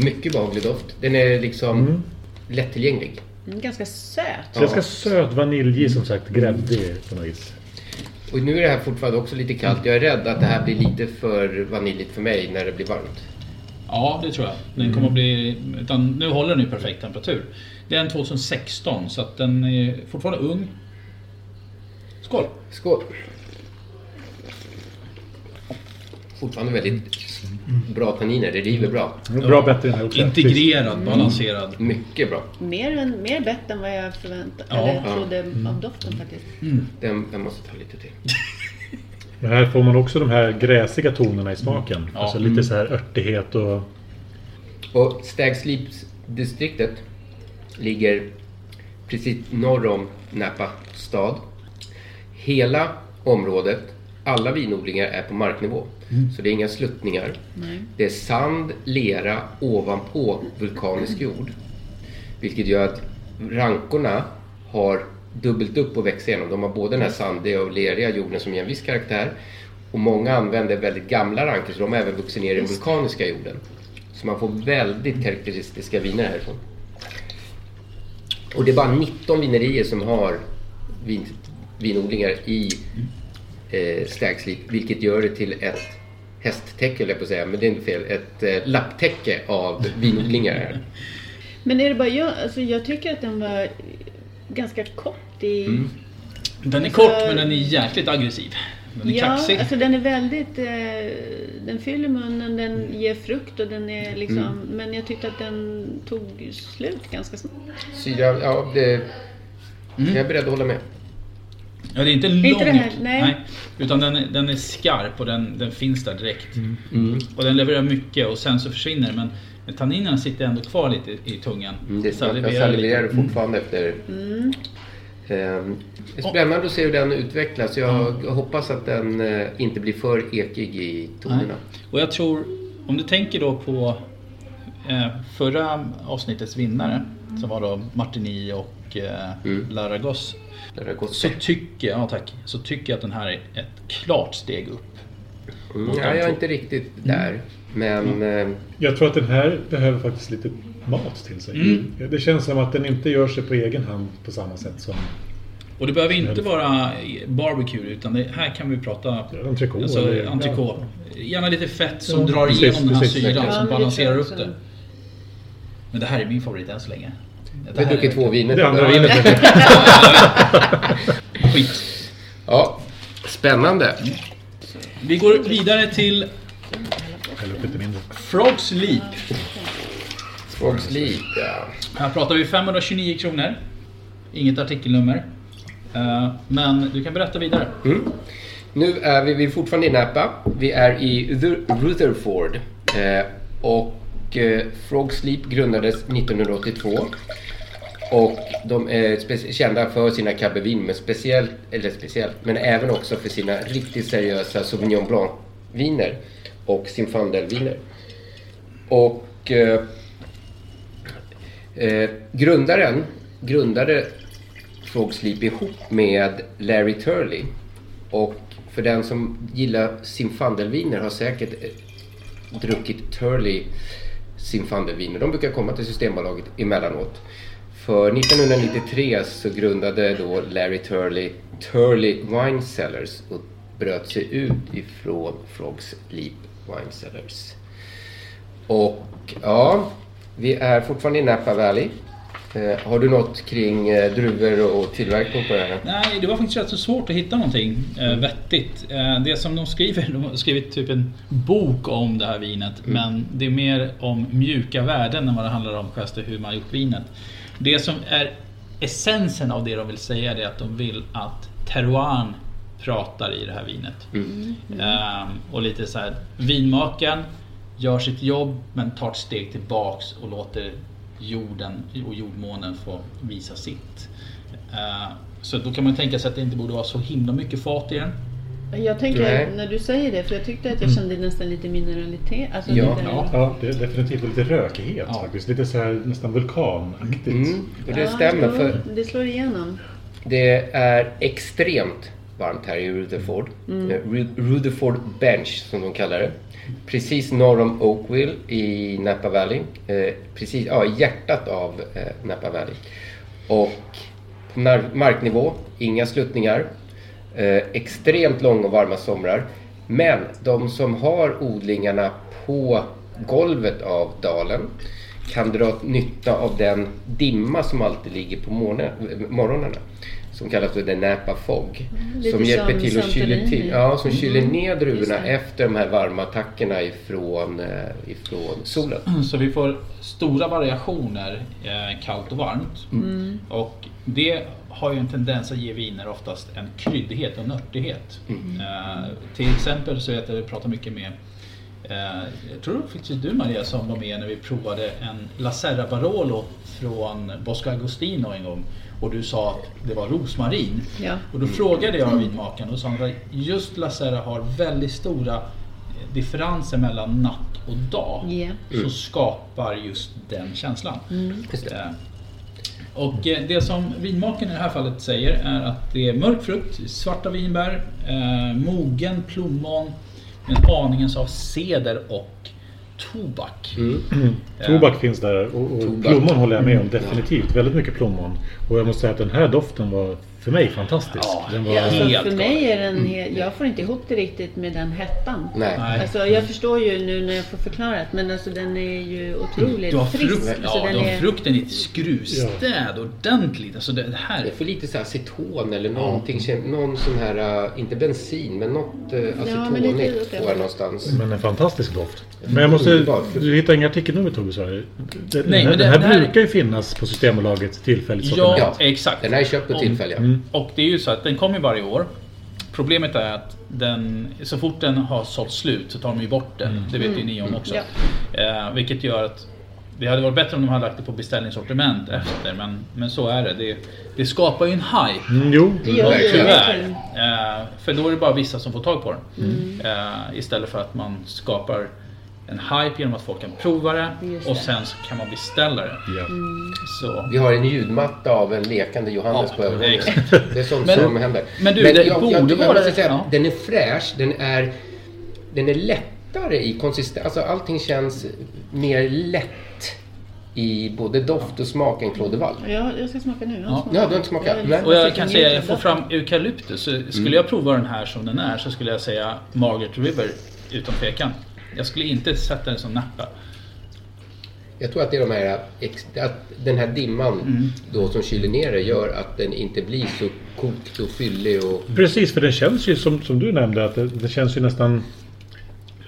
[SPEAKER 6] Mycket behaglig doft. Den är liksom
[SPEAKER 5] Mm.
[SPEAKER 6] lättillgänglig.
[SPEAKER 3] Mm, Ganska söt.
[SPEAKER 6] Ja.
[SPEAKER 9] Ganska söt vaniljig som sagt. Gräddig på något vis.
[SPEAKER 6] Och nu är det här fortfarande också lite kallt. Jag är rädd att det här blir lite för vaniljigt för mig när det blir varmt. Mm.
[SPEAKER 5] Ja, det tror jag. Den kommer att bli, utan nu håller den i perfekt temperatur. Det är en 2016 så att den är fortfarande ung. Skål!
[SPEAKER 6] Skål! Fortfarande väldigt bra tanniner. Det river bra. Mm.
[SPEAKER 9] Bra bättre än här också.
[SPEAKER 5] Integrerad,
[SPEAKER 9] Precis.
[SPEAKER 5] balanserad.
[SPEAKER 6] Mycket bra.
[SPEAKER 3] Mer, än, mer bett än vad jag förväntade,
[SPEAKER 6] Ja.
[SPEAKER 3] eller
[SPEAKER 6] Ja.
[SPEAKER 3] trodde
[SPEAKER 6] Mm.
[SPEAKER 3] av doften faktiskt.
[SPEAKER 6] Den, den måste ta lite till.
[SPEAKER 9] Men här får man också de här gräsiga tonerna i smaken.
[SPEAKER 6] Ja.
[SPEAKER 9] Alltså lite
[SPEAKER 6] Mm.
[SPEAKER 9] så här örtighet och...
[SPEAKER 6] Och Stagslipsdistriktet ligger precis norr om Napa stad. Hela området, alla vinodlingar är på marknivå.
[SPEAKER 2] Mm.
[SPEAKER 6] Så det är inga sluttningar.
[SPEAKER 2] Nej.
[SPEAKER 6] Det är sand, lera ovanpå vulkanisk jord. Vilket gör att rankorna har dubbelt upp och växer igenom. De har både den
[SPEAKER 2] Mm.
[SPEAKER 6] här sandiga och leriga jorden som ger en viss karaktär. Och många använder väldigt gamla rankor så de har även vuxit ner i den
[SPEAKER 2] Just det.
[SPEAKER 6] vulkaniska jorden. Så man får väldigt karaktäristiska viner härifrån. Och det är bara 19 vinerier som har vin, vinodlingar i
[SPEAKER 2] Mm.
[SPEAKER 6] eh, Stagslip, vilket gör det till ett hästtäcke, höll jag på att säga, men det är inte fel. Ett eh, lapptäcke av vinodlingar här.
[SPEAKER 3] Men är det bara jag, alltså jag tycker att den var ganska kort i...
[SPEAKER 6] Mm.
[SPEAKER 5] Den är
[SPEAKER 3] Alltså-
[SPEAKER 5] kort men den är jäkligt aggressiv. Den är
[SPEAKER 3] ja,
[SPEAKER 5] kaxig.
[SPEAKER 3] alltså den är väldigt... Eh, den fyller munnen, den ger frukt och den är liksom...
[SPEAKER 6] Mm.
[SPEAKER 3] Men jag tyckte att den tog slut ganska snabbt.
[SPEAKER 6] Syra, ja, det, jag är beredd att hålla med.
[SPEAKER 5] Ja, det är inte lång.
[SPEAKER 3] Inte det här, nej.
[SPEAKER 5] utan den är, den är skarp och den, den finns där direkt.
[SPEAKER 6] Mm.
[SPEAKER 5] Och den levererar mycket och sen så försvinner den, men, men tanninerna sitter ändå kvar lite i, i tungan.
[SPEAKER 6] Det, jag
[SPEAKER 5] Mm. Saliverar lite.
[SPEAKER 6] saliverar fortfarande efter.
[SPEAKER 3] Mm.
[SPEAKER 6] Ehm, det är spännande att se hur den utvecklas. Jag
[SPEAKER 5] Mm.
[SPEAKER 6] hoppas att den eh, inte blir för ekig i tonerna.
[SPEAKER 5] Och jag tror, om du tänker då på eh, förra avsnittets vinnare som var då Martini och eh, Laragos. Så tycker, ja, tack, så tycker jag att den här är ett klart steg upp.
[SPEAKER 6] Mm,
[SPEAKER 5] Mot
[SPEAKER 6] ja,
[SPEAKER 5] de
[SPEAKER 6] jag är
[SPEAKER 5] två. Mm.
[SPEAKER 6] inte riktigt där. Men eh,
[SPEAKER 9] Jag tror att den här behöver faktiskt lite mat till sig.
[SPEAKER 5] Mm.
[SPEAKER 9] Det känns som att den inte gör sig på egen hand på samma sätt som...
[SPEAKER 5] Och det behöver inte vara barbecue utan det, här kan vi prata
[SPEAKER 9] entrecote eller-
[SPEAKER 5] Alltså, entrecote. Gärna lite fett som
[SPEAKER 9] Ja,
[SPEAKER 5] drar
[SPEAKER 9] precis,
[SPEAKER 5] igenom den här
[SPEAKER 9] precis. Ja,
[SPEAKER 5] syran
[SPEAKER 9] men
[SPEAKER 5] som
[SPEAKER 9] det
[SPEAKER 5] balanserar
[SPEAKER 9] tror jag
[SPEAKER 5] upp det. Men det här är min favorit än så länge. Det
[SPEAKER 6] Vi har
[SPEAKER 5] här är-
[SPEAKER 6] druckit två viner.
[SPEAKER 9] Det andra vinet.
[SPEAKER 6] *laughs*
[SPEAKER 5] Skit.
[SPEAKER 6] Ja, spännande.
[SPEAKER 5] Vi går vidare till
[SPEAKER 9] Häll upp lite mindre.
[SPEAKER 5] Frogs Leap.
[SPEAKER 6] Frogs Leap, ja.
[SPEAKER 5] Här pratar vi 529 kronor. Inget artikelnummer. Eh, Men du kan berätta vidare.
[SPEAKER 6] Mm. Nu är vi, vi är fortfarande i Napa. Vi är i Ruther- Rutherford. Eh, och eh, Frog Sleep grundades 1982. Och de är spe- kända för sina cabervin, men speciellt, eller speciellt, men även också för sina riktigt seriösa Sauvignon Blanc-viner och Zinfandelviner. Och eh, eh, grundaren grundade Frog Sleep ihop med Larry Turley Och för den som gillar simfandelviner har säkert eh, druckit Turley simfandelviner. De brukar komma till Systembolaget emellanåt. För 1993 så grundade då Larry Turley Turley Wine Cellars och bröt sig ut ifrån Frogs Leap Wine Cellars. Och ja, vi är fortfarande i Napa Valley. Eh, har du något kring eh, druvor och tillverkning på det här?
[SPEAKER 5] Nej, det var faktiskt rätt så svårt att hitta någonting eh, vettigt. Eh, det som de skriver, de har skrivit typ en bok om det här vinet.
[SPEAKER 6] Mm.
[SPEAKER 5] Men det är mer om mjuka värden än vad det handlar om just hur man har gjort vinet. Det som är essensen av det de vill säga det är att de vill att terroirn pratar i det här vinet. Ehm, och lite så här, vinmakaren gör sitt jobb men tar ett steg tillbaks och låter jorden och jordmånen få visa sitt. Ehm, så då kan man tänka sig att det inte borde vara så himla mycket fat i den.
[SPEAKER 3] Jag tänker
[SPEAKER 5] Nej.
[SPEAKER 3] när du säger det, för jag tyckte att jag
[SPEAKER 5] Mm.
[SPEAKER 3] kände nästan lite mineralitet. Alltså
[SPEAKER 9] Ja,
[SPEAKER 3] lite,
[SPEAKER 9] ja. det är definitivt lite rökighet faktiskt. Lite så här, nästan vulkanaktigt.
[SPEAKER 6] Mm, och det stämmer,
[SPEAKER 3] slår-
[SPEAKER 6] för-
[SPEAKER 3] Det slår igenom.
[SPEAKER 6] Det är extremt varmt här i Rutherford.
[SPEAKER 3] Mm.
[SPEAKER 6] Eh, Ru- Rutherford Bench som de kallar det. Precis norr om Oakville i Napa Valley. Eh, precis, ja, i hjärtat av eh, Napa Valley. Och på nar- marknivå, inga sluttningar. Eh, extremt långa och varma somrar. Men de som har odlingarna på golvet av dalen kan dra nytta av den dimma som alltid ligger på morgna- morgnarna. Som kallas för the Napa Fog.
[SPEAKER 1] Mm, lite
[SPEAKER 6] som hjälper
[SPEAKER 1] som
[SPEAKER 6] till att kyla,
[SPEAKER 1] Santorini.
[SPEAKER 6] till, ja, som kyler
[SPEAKER 1] Mm.
[SPEAKER 6] ner
[SPEAKER 1] Just
[SPEAKER 6] druvorna
[SPEAKER 1] det.
[SPEAKER 6] efter de här varma attackerna ifrån, eh, ifrån solen.
[SPEAKER 9] Mm.
[SPEAKER 5] Så vi får stora variationer eh, kallt och varmt.
[SPEAKER 6] Mm.
[SPEAKER 5] Och det har ju en tendens att ge viner oftast en kryddighet och nörtighet.
[SPEAKER 6] Mm.
[SPEAKER 5] Eh, till exempel så vet jag att vi pratar mycket med eh, jag tror det var faktiskt du Maria som var med när vi provade en La Serra Barolo från Bosco Agostino en gång och du sa att det var rosmarin.
[SPEAKER 3] Ja.
[SPEAKER 5] Och då frågade jag vinmakaren och sa han att just La Serra har väldigt stora eh, differenser mellan natt och dag
[SPEAKER 3] Ja.
[SPEAKER 5] så
[SPEAKER 3] Mm.
[SPEAKER 5] skapar just den känslan.
[SPEAKER 3] Mm.
[SPEAKER 5] Eh, Och eh, det som vinmakaren i det här fallet säger är att det är mörk frukt, svarta vinbär, eh, mogen plommon, en aningens av ceder och tobak.
[SPEAKER 9] Mm. Tobak finns där och, och
[SPEAKER 5] Tobak.
[SPEAKER 9] plommon håller jag med om
[SPEAKER 5] Mm.
[SPEAKER 9] definitivt. Väldigt mycket plommon. Och jag måste säga att den här doften var för mig fantastisk. den var
[SPEAKER 3] Ja, alltså, för mig är den
[SPEAKER 5] Mm.
[SPEAKER 3] he- jag får inte ihop det riktigt med den hettan.
[SPEAKER 9] Nej. Nej.
[SPEAKER 3] Alltså, jag förstår ju nu när jag får förklarat men alltså, den är ju otroligt
[SPEAKER 5] Du har,
[SPEAKER 3] frisk.
[SPEAKER 5] frukt,
[SPEAKER 3] alltså,
[SPEAKER 5] ja,
[SPEAKER 3] den
[SPEAKER 5] du har
[SPEAKER 3] är-
[SPEAKER 5] frukten i ett skruvstäd ordentligt. Alltså det, det här
[SPEAKER 6] Det får lite så här aceton eller någonting. Någon sån här, eh, inte bensin, men något uh,
[SPEAKER 3] men lite
[SPEAKER 6] acetonigt
[SPEAKER 3] åt det
[SPEAKER 6] får jag någonstans.
[SPEAKER 9] Men en fantastisk doft. Men jag måste...
[SPEAKER 6] Underbart.
[SPEAKER 9] Du hittar inga artikelnummer Tobbe sa du? Den,
[SPEAKER 5] Nej, men
[SPEAKER 9] den,
[SPEAKER 5] det-
[SPEAKER 9] här
[SPEAKER 5] det här-
[SPEAKER 9] brukar ju finnas på Systembolagets tillfälligt sortiment.
[SPEAKER 5] Ja, exakt. Den
[SPEAKER 6] här är köpt
[SPEAKER 9] på tillfälle, ja. Mm.
[SPEAKER 5] Och det är ju så att den kommer varje år. Problemet är att den, så fort den har sålt slut så tar de ju bort den. Det vet ju
[SPEAKER 2] Mm.
[SPEAKER 5] ni om
[SPEAKER 2] Mm.
[SPEAKER 5] också. Eh, vilket gör att det hade varit bättre om de hade lagt det på beställningssortiment efter. Men, men så är det. det. Det skapar ju en hype.
[SPEAKER 9] Mm, jo.
[SPEAKER 5] Det gör det. Tyvärr. Eh, för då är det bara vissa som får tag på den.
[SPEAKER 6] Mm.
[SPEAKER 5] Eh, istället för att man skapar en hype genom att folk kan prova det
[SPEAKER 6] Just
[SPEAKER 5] och
[SPEAKER 6] det. Mm.
[SPEAKER 5] sen så kan man beställa det. Så.
[SPEAKER 6] Vi har en ljudmatta av en lekande Johannes
[SPEAKER 5] Ja,
[SPEAKER 6] på övervåningen.
[SPEAKER 5] exakt.
[SPEAKER 6] Det är sånt
[SPEAKER 5] Men-
[SPEAKER 6] som händer.
[SPEAKER 5] men du, det borde vara-
[SPEAKER 6] måste säga,
[SPEAKER 5] ja.
[SPEAKER 6] Den är fräsch, den är, den är lättare i konsistens. Alltså allting känns mer lätt i både doft och smak än Clos de Val.
[SPEAKER 3] Ja, jag ska smaka nu. Jag har
[SPEAKER 6] Ja. Ja, du har inte smakat.
[SPEAKER 3] Jag är
[SPEAKER 6] Nej.
[SPEAKER 3] lite
[SPEAKER 5] Och jag
[SPEAKER 3] nyfiken.
[SPEAKER 5] kan säga, jag
[SPEAKER 3] Njuter
[SPEAKER 5] får
[SPEAKER 3] av
[SPEAKER 5] fram eukalyptus. Så skulle
[SPEAKER 6] Mm.
[SPEAKER 5] jag prova den här som den är så skulle jag säga Margaret River utan tvekan. Jag skulle inte sätta den som Napa.
[SPEAKER 6] Jag tror att det är de här, ex- att den här dimman
[SPEAKER 9] Mm.
[SPEAKER 6] då som kyler ner det gör att den inte blir så kokt och fyllig och
[SPEAKER 9] Precis, för den känns ju som, som du nämnde att det, det känns ju nästan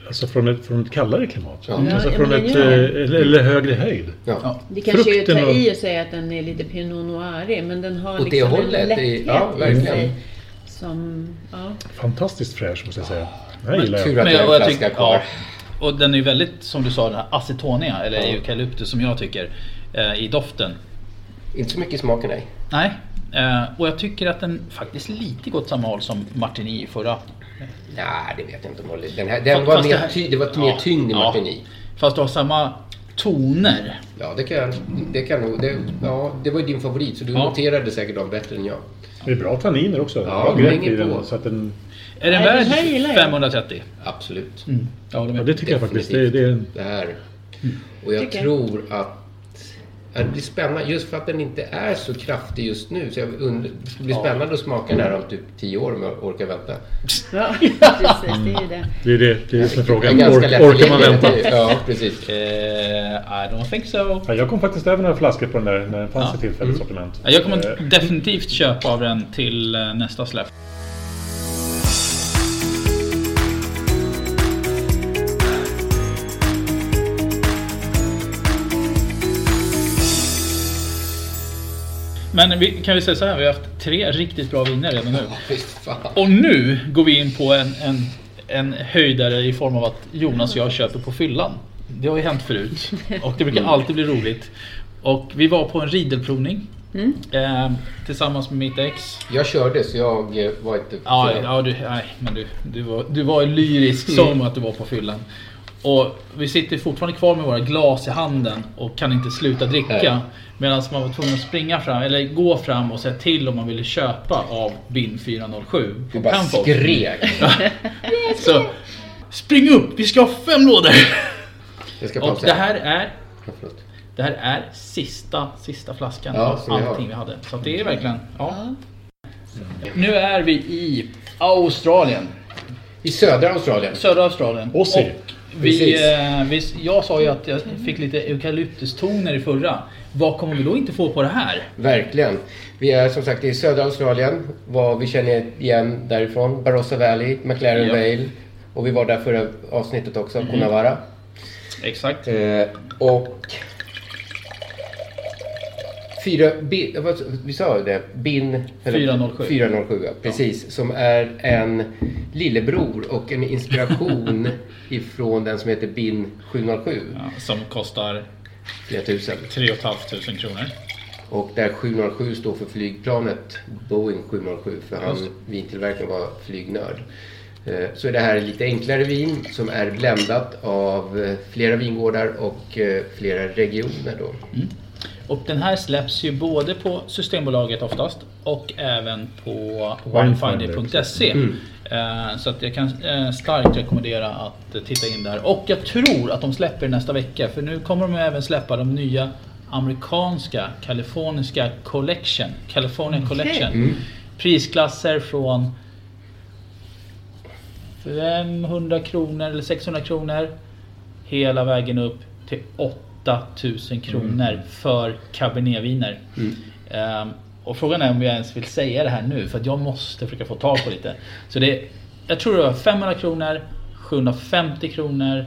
[SPEAKER 9] Alltså från ett, från ett kallare klimat.
[SPEAKER 6] Ja.
[SPEAKER 9] Alltså
[SPEAKER 3] Ja,
[SPEAKER 9] från
[SPEAKER 3] men
[SPEAKER 9] ett,
[SPEAKER 3] det gör
[SPEAKER 9] eh, eller, eller högre höjd.
[SPEAKER 3] Det kanske är att ta
[SPEAKER 9] och-
[SPEAKER 3] i och säga att den är lite Pinot Noirig men den har
[SPEAKER 9] Åt det
[SPEAKER 3] liksom
[SPEAKER 9] hållet, det är-
[SPEAKER 3] en lätthet
[SPEAKER 9] ja,
[SPEAKER 3] i
[SPEAKER 9] verkligen.
[SPEAKER 3] sig. Som, ja.
[SPEAKER 9] Fantastiskt fräsch måste jag säga. Det här gillar jag.
[SPEAKER 5] och tycker- ja, och den är ju väldigt, som du sa, den här acetonia eller eukalyptus som jag tycker eh, i doften.
[SPEAKER 6] Inte så mycket i smaken nej.
[SPEAKER 5] Nej, eh, och jag tycker att den faktiskt lite går åt samma håll som Martini i förra.
[SPEAKER 6] Nej, det vet jag inte om det Den här, den var mer, det, ty, det var mer tyngd i Martini.
[SPEAKER 5] Fast du har samma toner.
[SPEAKER 6] Ja, det kan, det kan nog... Det, ja, det var ju din favorit så du
[SPEAKER 5] Ja.
[SPEAKER 6] noterade säkert dem bättre än jag.
[SPEAKER 9] Det är bra tanniner också.
[SPEAKER 6] Ja,
[SPEAKER 9] bra grepp
[SPEAKER 6] hänger
[SPEAKER 9] i den.
[SPEAKER 6] på.
[SPEAKER 9] Så att den
[SPEAKER 5] Är den
[SPEAKER 6] Nej,
[SPEAKER 5] värd
[SPEAKER 6] det här gillar jag.
[SPEAKER 5] 530?
[SPEAKER 6] Absolut.
[SPEAKER 5] Mm. Ja,
[SPEAKER 9] Ja, det tycker jag faktiskt. Det, det är, Mm.
[SPEAKER 6] Det här. Och jag
[SPEAKER 3] Tycker jag.
[SPEAKER 6] tror att ja, det blir spännande just för att den inte är så kraftig just nu. Så jag undrar, det blir
[SPEAKER 9] Ja.
[SPEAKER 6] spännande att smaka den här om typ 10 år om jag orkar vänta.
[SPEAKER 3] Ja, precis. Det är ju det.
[SPEAKER 9] det är det, det är som är frågan.
[SPEAKER 6] Det är ganska
[SPEAKER 9] Ork, orkar
[SPEAKER 6] lättillgängligt.
[SPEAKER 9] man vänta?
[SPEAKER 6] Ja, precis.
[SPEAKER 5] I don't think so.
[SPEAKER 9] Ja, jag kom faktiskt över några flaskor på den där när den fanns
[SPEAKER 5] Ja.
[SPEAKER 9] i tillfälligt sortiment.
[SPEAKER 5] Jag kommer
[SPEAKER 9] Eh,
[SPEAKER 5] definitivt köpa av den till eh, nästa släpp. Men vi kan ju säga så här, vi har haft tre riktigt bra viner redan nu.
[SPEAKER 6] Fy fan.
[SPEAKER 5] Och nu går vi in på en, en, en höjdare i form av att Jonas och jag köper på fyllan. Det har ju hänt förut och det
[SPEAKER 6] Mm.
[SPEAKER 5] brukar alltid bli roligt. Och vi var på en ridelprovning
[SPEAKER 3] Mm.
[SPEAKER 5] eh, tillsammans med mitt ex.
[SPEAKER 6] Jag körde så jag eh, var inte...
[SPEAKER 5] Ja,
[SPEAKER 6] så-
[SPEAKER 5] ja du, nej, men du, du, var, du var lyrisk som att du var på fyllan. Och vi sitter fortfarande kvar med våra glas i handen och kan inte sluta
[SPEAKER 6] Nej.
[SPEAKER 5] dricka. Medan man var tvungen att springa fram, eller gå fram och säga till om man ville köpa av BIN 407.
[SPEAKER 6] Du
[SPEAKER 5] på
[SPEAKER 6] bara
[SPEAKER 5] Campox.
[SPEAKER 6] skrek.
[SPEAKER 5] *laughs* Så spring upp, vi ska ha fem lådor!
[SPEAKER 6] Jag ska
[SPEAKER 5] Och
[SPEAKER 6] pausa.
[SPEAKER 5] det här är,
[SPEAKER 6] Ja, förlåt.
[SPEAKER 5] det här är sista, sista flaskan
[SPEAKER 6] Ja,
[SPEAKER 5] av
[SPEAKER 6] som vi har.
[SPEAKER 5] allting vi hade. Så att det är verkligen, ja. Nu är vi i Australien,
[SPEAKER 6] I södra Australien.
[SPEAKER 5] södra Australien.
[SPEAKER 9] Aussie.
[SPEAKER 5] Och vi,
[SPEAKER 6] Precis.
[SPEAKER 5] eh, vi, jag sa ju att jag fick lite eukalyptustoner i förra. Vad kommer vi då inte få på det här?
[SPEAKER 6] Verkligen. Vi är som sagt i södra Australien. Vad vi känner igen därifrån. Barossa Valley, McLaren
[SPEAKER 5] Ja. Mm.
[SPEAKER 6] Vale. Och vi var där förra avsnittet också, Coonawarra.
[SPEAKER 5] Exakt.
[SPEAKER 6] Eh, och... Fyra, bi, vad, vi sa ju det, BIN
[SPEAKER 5] 407.
[SPEAKER 6] 407 ja, precis. Som är en lillebror och
[SPEAKER 5] *laughs*
[SPEAKER 6] en inspiration ifrån den som heter BIN 707.
[SPEAKER 5] Ja, som kostar
[SPEAKER 6] Flera tusen.
[SPEAKER 5] 3 500 kronor.
[SPEAKER 6] Och där 707 står för flygplanet Boeing 707 för han
[SPEAKER 5] Just det.
[SPEAKER 6] vintillverkaren var flygnörd. Eh, Så är det här lite enklare vin som är blandat av eh, flera vingårdar och eh, flera regioner då.
[SPEAKER 5] Och den här släpps ju både på Systembolaget oftast och även på
[SPEAKER 9] Winefinder.
[SPEAKER 5] winefinder.se. Eh, Så att jag kan eh, starkt rekommendera att eh, titta in där. Och jag tror att de släpper nästa vecka för nu kommer de även släppa de nya amerikanska kaliforniska collection. California collection. Prisklasser från 500 kronor eller 600 kronor hela vägen upp till 8000 kronor för cabernetviner. Ehm, och frågan är om jag ens vill säga det här nu för att jag måste försöka få tag på lite. Så det är, jag tror det var 500 kronor, 750 kronor,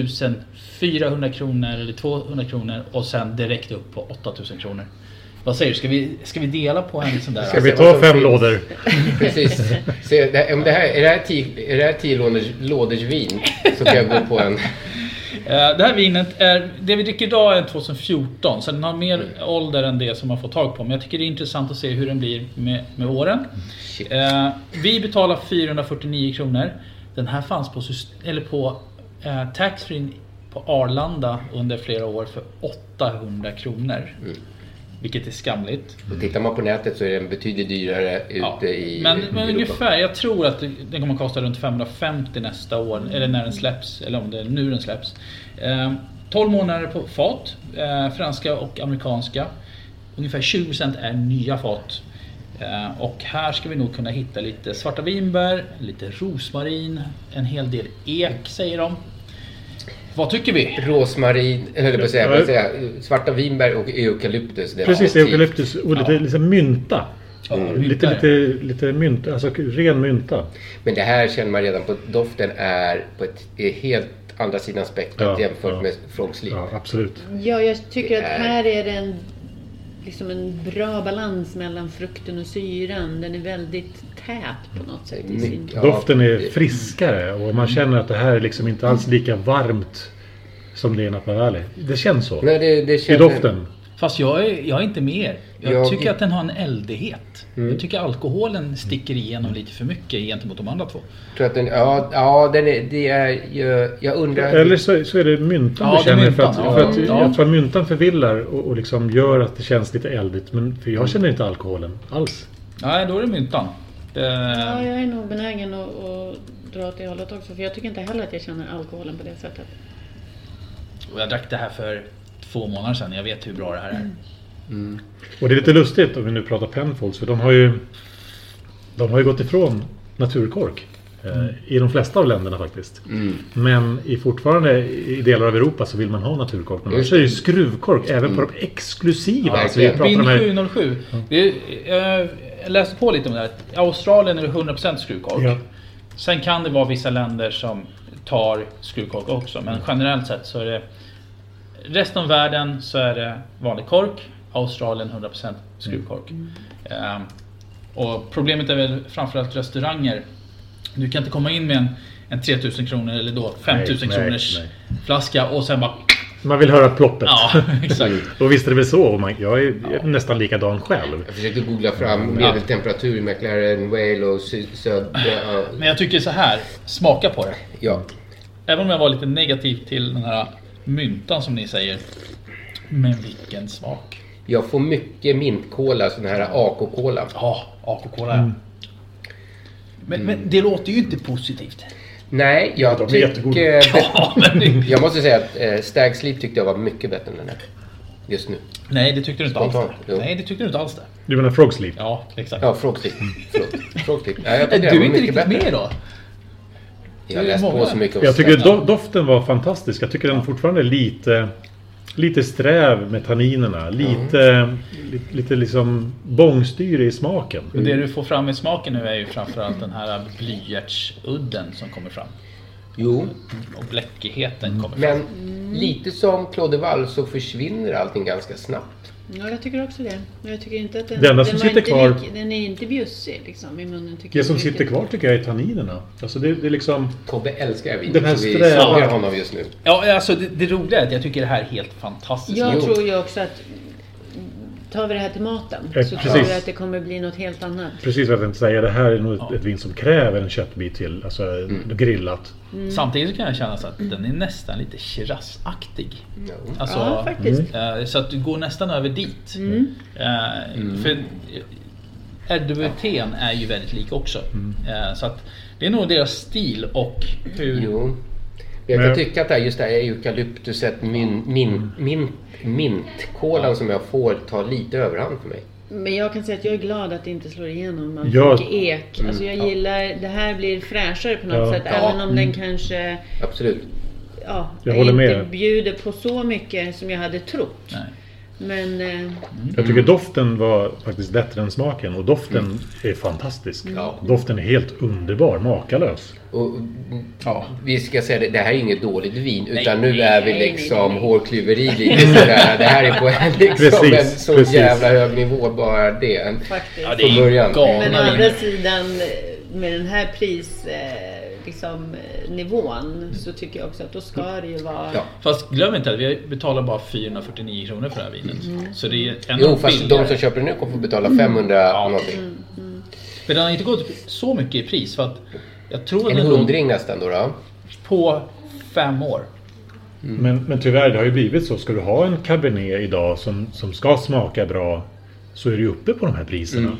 [SPEAKER 5] 1400 kronor eller 200 kronor och sen direkt upp på 8000 kronor. Vad säger du? Ska vi, ska vi dela på en sån där?
[SPEAKER 9] Ska vi ta fem lådor?
[SPEAKER 6] Alltså, *laughs* Precis. Så det, om det här, är det här tio, är det här tio lådors, lådors vin så kan jag gå på en.
[SPEAKER 5] *laughs* Eh, Det här vinet är, det vi dricker idag är 2014 så den har
[SPEAKER 6] Mm.
[SPEAKER 5] mer ålder än det som man får tag på. Men jag tycker det är intressant att se hur den blir med, med åren.
[SPEAKER 6] Shit.
[SPEAKER 5] Eh, vi betalar 449 kronor. Den här fanns på, syst- eller på eh, taxfree på Arlanda under flera år för 800 kronor. Vilket är skamligt.
[SPEAKER 6] Och tittar man på nätet så är den betydligt dyrare ute
[SPEAKER 5] Ja.
[SPEAKER 6] i
[SPEAKER 5] men
[SPEAKER 6] i
[SPEAKER 5] men
[SPEAKER 6] Europa.
[SPEAKER 5] ungefär, jag tror att den kommer kosta runt 550 nästa år. Eller när den släpps, eller om det är nu den släpps. Ehm, 12 månader på fat, eh, franska och amerikanska. Ungefär 20% är nya fat. Eh, och här ska vi nog kunna hitta lite svarta vinbär, lite rosmarin, en hel del ek säger de. Vad tycker vi?
[SPEAKER 6] Rosmarin, jag höll på att säga, vad säger jag? svarta vinbär och eukalyptus. det är
[SPEAKER 9] Precis,
[SPEAKER 6] alltid.
[SPEAKER 9] eukalyptus och lite
[SPEAKER 5] Ja.
[SPEAKER 9] liksom mynta.
[SPEAKER 5] Ja,
[SPEAKER 9] Lite,
[SPEAKER 5] vinbär.
[SPEAKER 9] lite, lite mynta, alltså ren mynta.
[SPEAKER 6] Men det här känner man redan på doften är på ett är helt andra sidan spektrat
[SPEAKER 9] Ja,
[SPEAKER 6] jämfört
[SPEAKER 9] ja.
[SPEAKER 6] med Frogs liv.
[SPEAKER 9] Ja, absolut.
[SPEAKER 3] Ja, jag tycker att här är det en, liksom en bra balans mellan frukten och syran. Den är väldigt tät på något sätt. i sin-
[SPEAKER 6] Mycket- ja,
[SPEAKER 9] Doften är
[SPEAKER 6] det-
[SPEAKER 9] friskare och man känner att det här är liksom inte alls lika varmt som det är i Napa Valley. Det känns så.
[SPEAKER 6] Nej, det, det
[SPEAKER 9] I
[SPEAKER 6] känner-
[SPEAKER 9] doften.
[SPEAKER 5] Fast jag är, jag är inte med er. Jag,
[SPEAKER 6] Jag-
[SPEAKER 5] tycker att den har en eldighet. Jag tycker alkoholen sticker igenom lite för mycket gentemot de andra två.
[SPEAKER 6] Tror att den, ja, ja den är, det är, jag, jag undrar.
[SPEAKER 9] Eller så, så är det myntan
[SPEAKER 5] Ja, det
[SPEAKER 9] du känner.
[SPEAKER 5] är
[SPEAKER 9] för att,
[SPEAKER 5] myntan, ja.
[SPEAKER 9] för att
[SPEAKER 5] Ja.
[SPEAKER 9] Jag tror att myntan förvillar och, och liksom gör att det känns lite eldigt. Men för jag känner inte alkoholen alls.
[SPEAKER 5] Nej, då är det myntan. Det-
[SPEAKER 3] Ja, jag är nog benägen att, att dra åt det hållet också. För jag tycker inte heller att jag känner alkoholen på det sättet.
[SPEAKER 5] Och jag drack det här för två månader sedan. Jag vet hur bra det här är.
[SPEAKER 9] Och det är lite lustigt om vi nu pratar Penfolds för de har ju De har ju gått ifrån naturkork eh, I de flesta av länderna faktiskt Men i fortfarande i delar av Europa så vill man ha naturkork Men de
[SPEAKER 5] Just
[SPEAKER 9] kör ju skruvkork även på de exklusiva alltså, vi pratar om
[SPEAKER 5] Bin
[SPEAKER 9] här-
[SPEAKER 5] 707. Det är, eh, jag läste på lite om det här. I Australien är det 100% skruvkork.
[SPEAKER 9] Ja.
[SPEAKER 5] Sen kan det vara vissa länder som tar skruvkork också. Men
[SPEAKER 9] Mm.
[SPEAKER 5] generellt sett så är det... Resten av världen så är det vanlig kork. Australien 100% skruvkork.
[SPEAKER 9] Mm.
[SPEAKER 5] Eh, och problemet är väl framförallt restauranger. Du kan inte komma in med en, en 3000 kronor eller då
[SPEAKER 9] Nej,
[SPEAKER 5] 5000
[SPEAKER 9] nej,
[SPEAKER 5] kronors flaska och sen bara...
[SPEAKER 9] Man vill höra ploppet.
[SPEAKER 5] Ja, exakt.
[SPEAKER 9] och visst är det väl så. och Man, jag är jag är nästan likadan själv.
[SPEAKER 6] Jag försökte googla fram
[SPEAKER 9] Ja.
[SPEAKER 6] medeltemperatur i McLaren, Wale och syd... söd- ja.
[SPEAKER 5] Men jag tycker så här, smaka på det.
[SPEAKER 6] Ja.
[SPEAKER 5] Även om jag var lite negativ till den här myntan som ni säger. Men vilken smak.
[SPEAKER 6] Jag får mycket mintkola, sån här AK-kola.
[SPEAKER 5] Ja, AK-kola Men, men det låter ju inte positivt.
[SPEAKER 6] Nej, jag
[SPEAKER 5] de är jättegoda. *laughs*
[SPEAKER 6] tycker...
[SPEAKER 5] Ja, men-
[SPEAKER 6] jag måste säga att eh, Stag Sleep tyckte jag var mycket bättre än den här. Just nu.
[SPEAKER 5] Nej, det tyckte du inte alls.
[SPEAKER 6] Spontant,
[SPEAKER 5] Det. Nej, det tyckte du inte alls det.
[SPEAKER 9] Du menar Frog Sleep?
[SPEAKER 5] Ja, exakt.
[SPEAKER 6] Ja, Frog Sleep. Förlåt. Frog Sleep. Nej, jag
[SPEAKER 5] Nej, du
[SPEAKER 6] tyckte den
[SPEAKER 5] är
[SPEAKER 6] var
[SPEAKER 5] inte
[SPEAKER 6] mycket
[SPEAKER 5] riktigt med
[SPEAKER 6] bättre.
[SPEAKER 5] då.
[SPEAKER 6] Jag har läst på så mycket om
[SPEAKER 9] Jag tycker
[SPEAKER 6] Stag Sleep.
[SPEAKER 9] do, doften var fantastisk. Jag tycker den fortfarande är lite... Lite sträv med tanninerna. Lite, li- lite liksom bångstyrig i smaken.
[SPEAKER 5] Men det du får fram i smaken nu är ju framförallt den här blyertsudden som kommer fram.
[SPEAKER 6] Jo.
[SPEAKER 5] Och bläckigheten kommer fram.
[SPEAKER 6] Men lite som Claude Wall så försvinner allting ganska snabbt.
[SPEAKER 3] Ja, jag tycker också det. Men jag tycker inte att den,
[SPEAKER 9] Det enda som
[SPEAKER 3] den var
[SPEAKER 9] sitter
[SPEAKER 3] inte
[SPEAKER 9] kvar-
[SPEAKER 3] lik- den är inte bjussig liksom, i munnen. Tycker
[SPEAKER 9] Det som
[SPEAKER 3] jag
[SPEAKER 9] sitter
[SPEAKER 3] riktigt.
[SPEAKER 9] kvar tycker jag är tanninerna. Alltså det, det är liksom...
[SPEAKER 6] Tobbe älskar vin.
[SPEAKER 9] Den här
[SPEAKER 6] så vi
[SPEAKER 9] strävan.
[SPEAKER 6] saknar honom just nu.
[SPEAKER 5] Ja, alltså det, det roliga är att jag tycker det här är helt fantastiskt.
[SPEAKER 3] Jag
[SPEAKER 5] Jo.
[SPEAKER 3] tror ju också att tar vi det här till maten
[SPEAKER 9] Ja,
[SPEAKER 3] så tror
[SPEAKER 9] precis.
[SPEAKER 3] jag att det kommer bli något helt annat.
[SPEAKER 9] Precis vad jag tänkte säga. Det här är nog ett, ett vin som kräver en köttbit till. Alltså grillat.
[SPEAKER 3] Mm.
[SPEAKER 5] Samtidigt så kan jag känna så att den är nästan lite kirasaktig. Mm.
[SPEAKER 3] Ja, faktiskt.
[SPEAKER 5] eh, så att du går nästan över dit.
[SPEAKER 3] Mm.
[SPEAKER 5] Eh,
[SPEAKER 6] Mm.
[SPEAKER 5] För RWT'n är ju väldigt lik också.
[SPEAKER 6] Mm.
[SPEAKER 5] Eh, så att det är nog deras stil och hur...
[SPEAKER 6] Jo. Jag kan tycka att det här, just det här eukalyptuset, min, min, min, mintkolan som jag får tar lite överhand för mig.
[SPEAKER 3] Men jag kan säga att jag är glad att det inte slår igenom man
[SPEAKER 6] Jag-
[SPEAKER 3] fick ek. Alltså jag
[SPEAKER 6] Mm, ja.
[SPEAKER 3] gillar, det här blir fräschare på något
[SPEAKER 6] Ja.
[SPEAKER 3] sätt.
[SPEAKER 6] Ja.
[SPEAKER 3] Även om
[SPEAKER 6] Mm.
[SPEAKER 3] den kanske
[SPEAKER 6] Absolut.
[SPEAKER 3] ja,
[SPEAKER 9] Jag håller med
[SPEAKER 3] inte
[SPEAKER 9] er.
[SPEAKER 3] bjuder på så mycket som jag hade trott. Men eh,
[SPEAKER 9] Jag tycker doften var faktiskt bättre än smaken och doften
[SPEAKER 6] Mm.
[SPEAKER 9] är fantastisk.
[SPEAKER 6] Ja.
[SPEAKER 9] Doften är helt underbar, makalös.
[SPEAKER 6] Och, Vi ska säga det, det här är inget dåligt vin
[SPEAKER 9] Nej,
[SPEAKER 6] utan nu
[SPEAKER 9] nej,
[SPEAKER 6] är vi
[SPEAKER 9] nej, nej,
[SPEAKER 6] liksom hårklyveri
[SPEAKER 9] *laughs*
[SPEAKER 6] lite sådär. Det här är på en, liksom,
[SPEAKER 9] Precis,
[SPEAKER 6] en så
[SPEAKER 9] precis.
[SPEAKER 6] jävla hög nivå bara det. En,
[SPEAKER 3] Faktiskt.
[SPEAKER 5] Ja, det är
[SPEAKER 6] från början.
[SPEAKER 3] Men å andra sidan eh, med den här pris eh, liksom, eh, nivån så tycker jag också att då
[SPEAKER 9] Mm.
[SPEAKER 3] ska det ju vara...
[SPEAKER 5] Fast glöm inte att vi betalar bara 449 kronor för det här vinet.
[SPEAKER 3] Mm.
[SPEAKER 5] Så det är ändå
[SPEAKER 6] Jo, fast
[SPEAKER 5] billigare.
[SPEAKER 6] de som köper det nu kommer få betala
[SPEAKER 9] Mm.
[SPEAKER 6] 500 någonting.
[SPEAKER 5] Men den har inte gått upp så mycket i pris för att jag tror
[SPEAKER 6] En
[SPEAKER 5] att den låg
[SPEAKER 6] hundring nästan då. då.
[SPEAKER 5] på fem år.
[SPEAKER 9] Men, men tyvärr, det har ju blivit så. Ska du ha en cabernet idag som, som ska smaka bra så är du ju uppe på de här priserna.
[SPEAKER 6] Mm.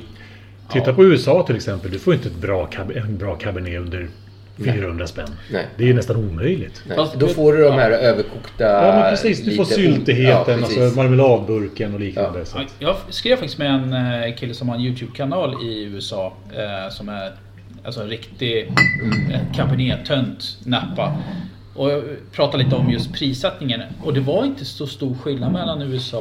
[SPEAKER 9] Titta på USA till exempel. Du får inte ett bra, cab- en bra cabernet under
[SPEAKER 6] Nej.
[SPEAKER 9] 400 spänn.
[SPEAKER 6] Nej.
[SPEAKER 9] Det är ju nästan omöjligt.
[SPEAKER 6] Nej. Då får du de här överkokta...
[SPEAKER 9] Ja men precis, du får
[SPEAKER 6] lite-
[SPEAKER 9] syltigheten,
[SPEAKER 6] Ja, precis.
[SPEAKER 9] alltså marmeladburken och liknande. Så.
[SPEAKER 5] Ja, Jag skrev faktiskt med en eh, kille som har en YouTube-kanal i USA eh, som är alltså, en riktig kabinet-tönt Napa. Och jag pratade lite om just prissättningen och det var inte så stor skillnad mellan USA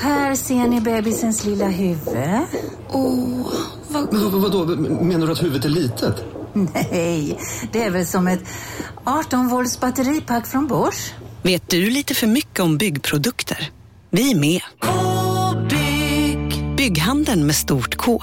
[SPEAKER 10] Här ser ni bebisens lilla huvud. Åh, oh, vad... Men, vadå, menar du att huvudet är litet? Nej, det är väl som ett 18 volts batteripack från Bors.
[SPEAKER 7] Vet du lite för mycket om byggprodukter? Vi är med. Bygghandeln med stort K.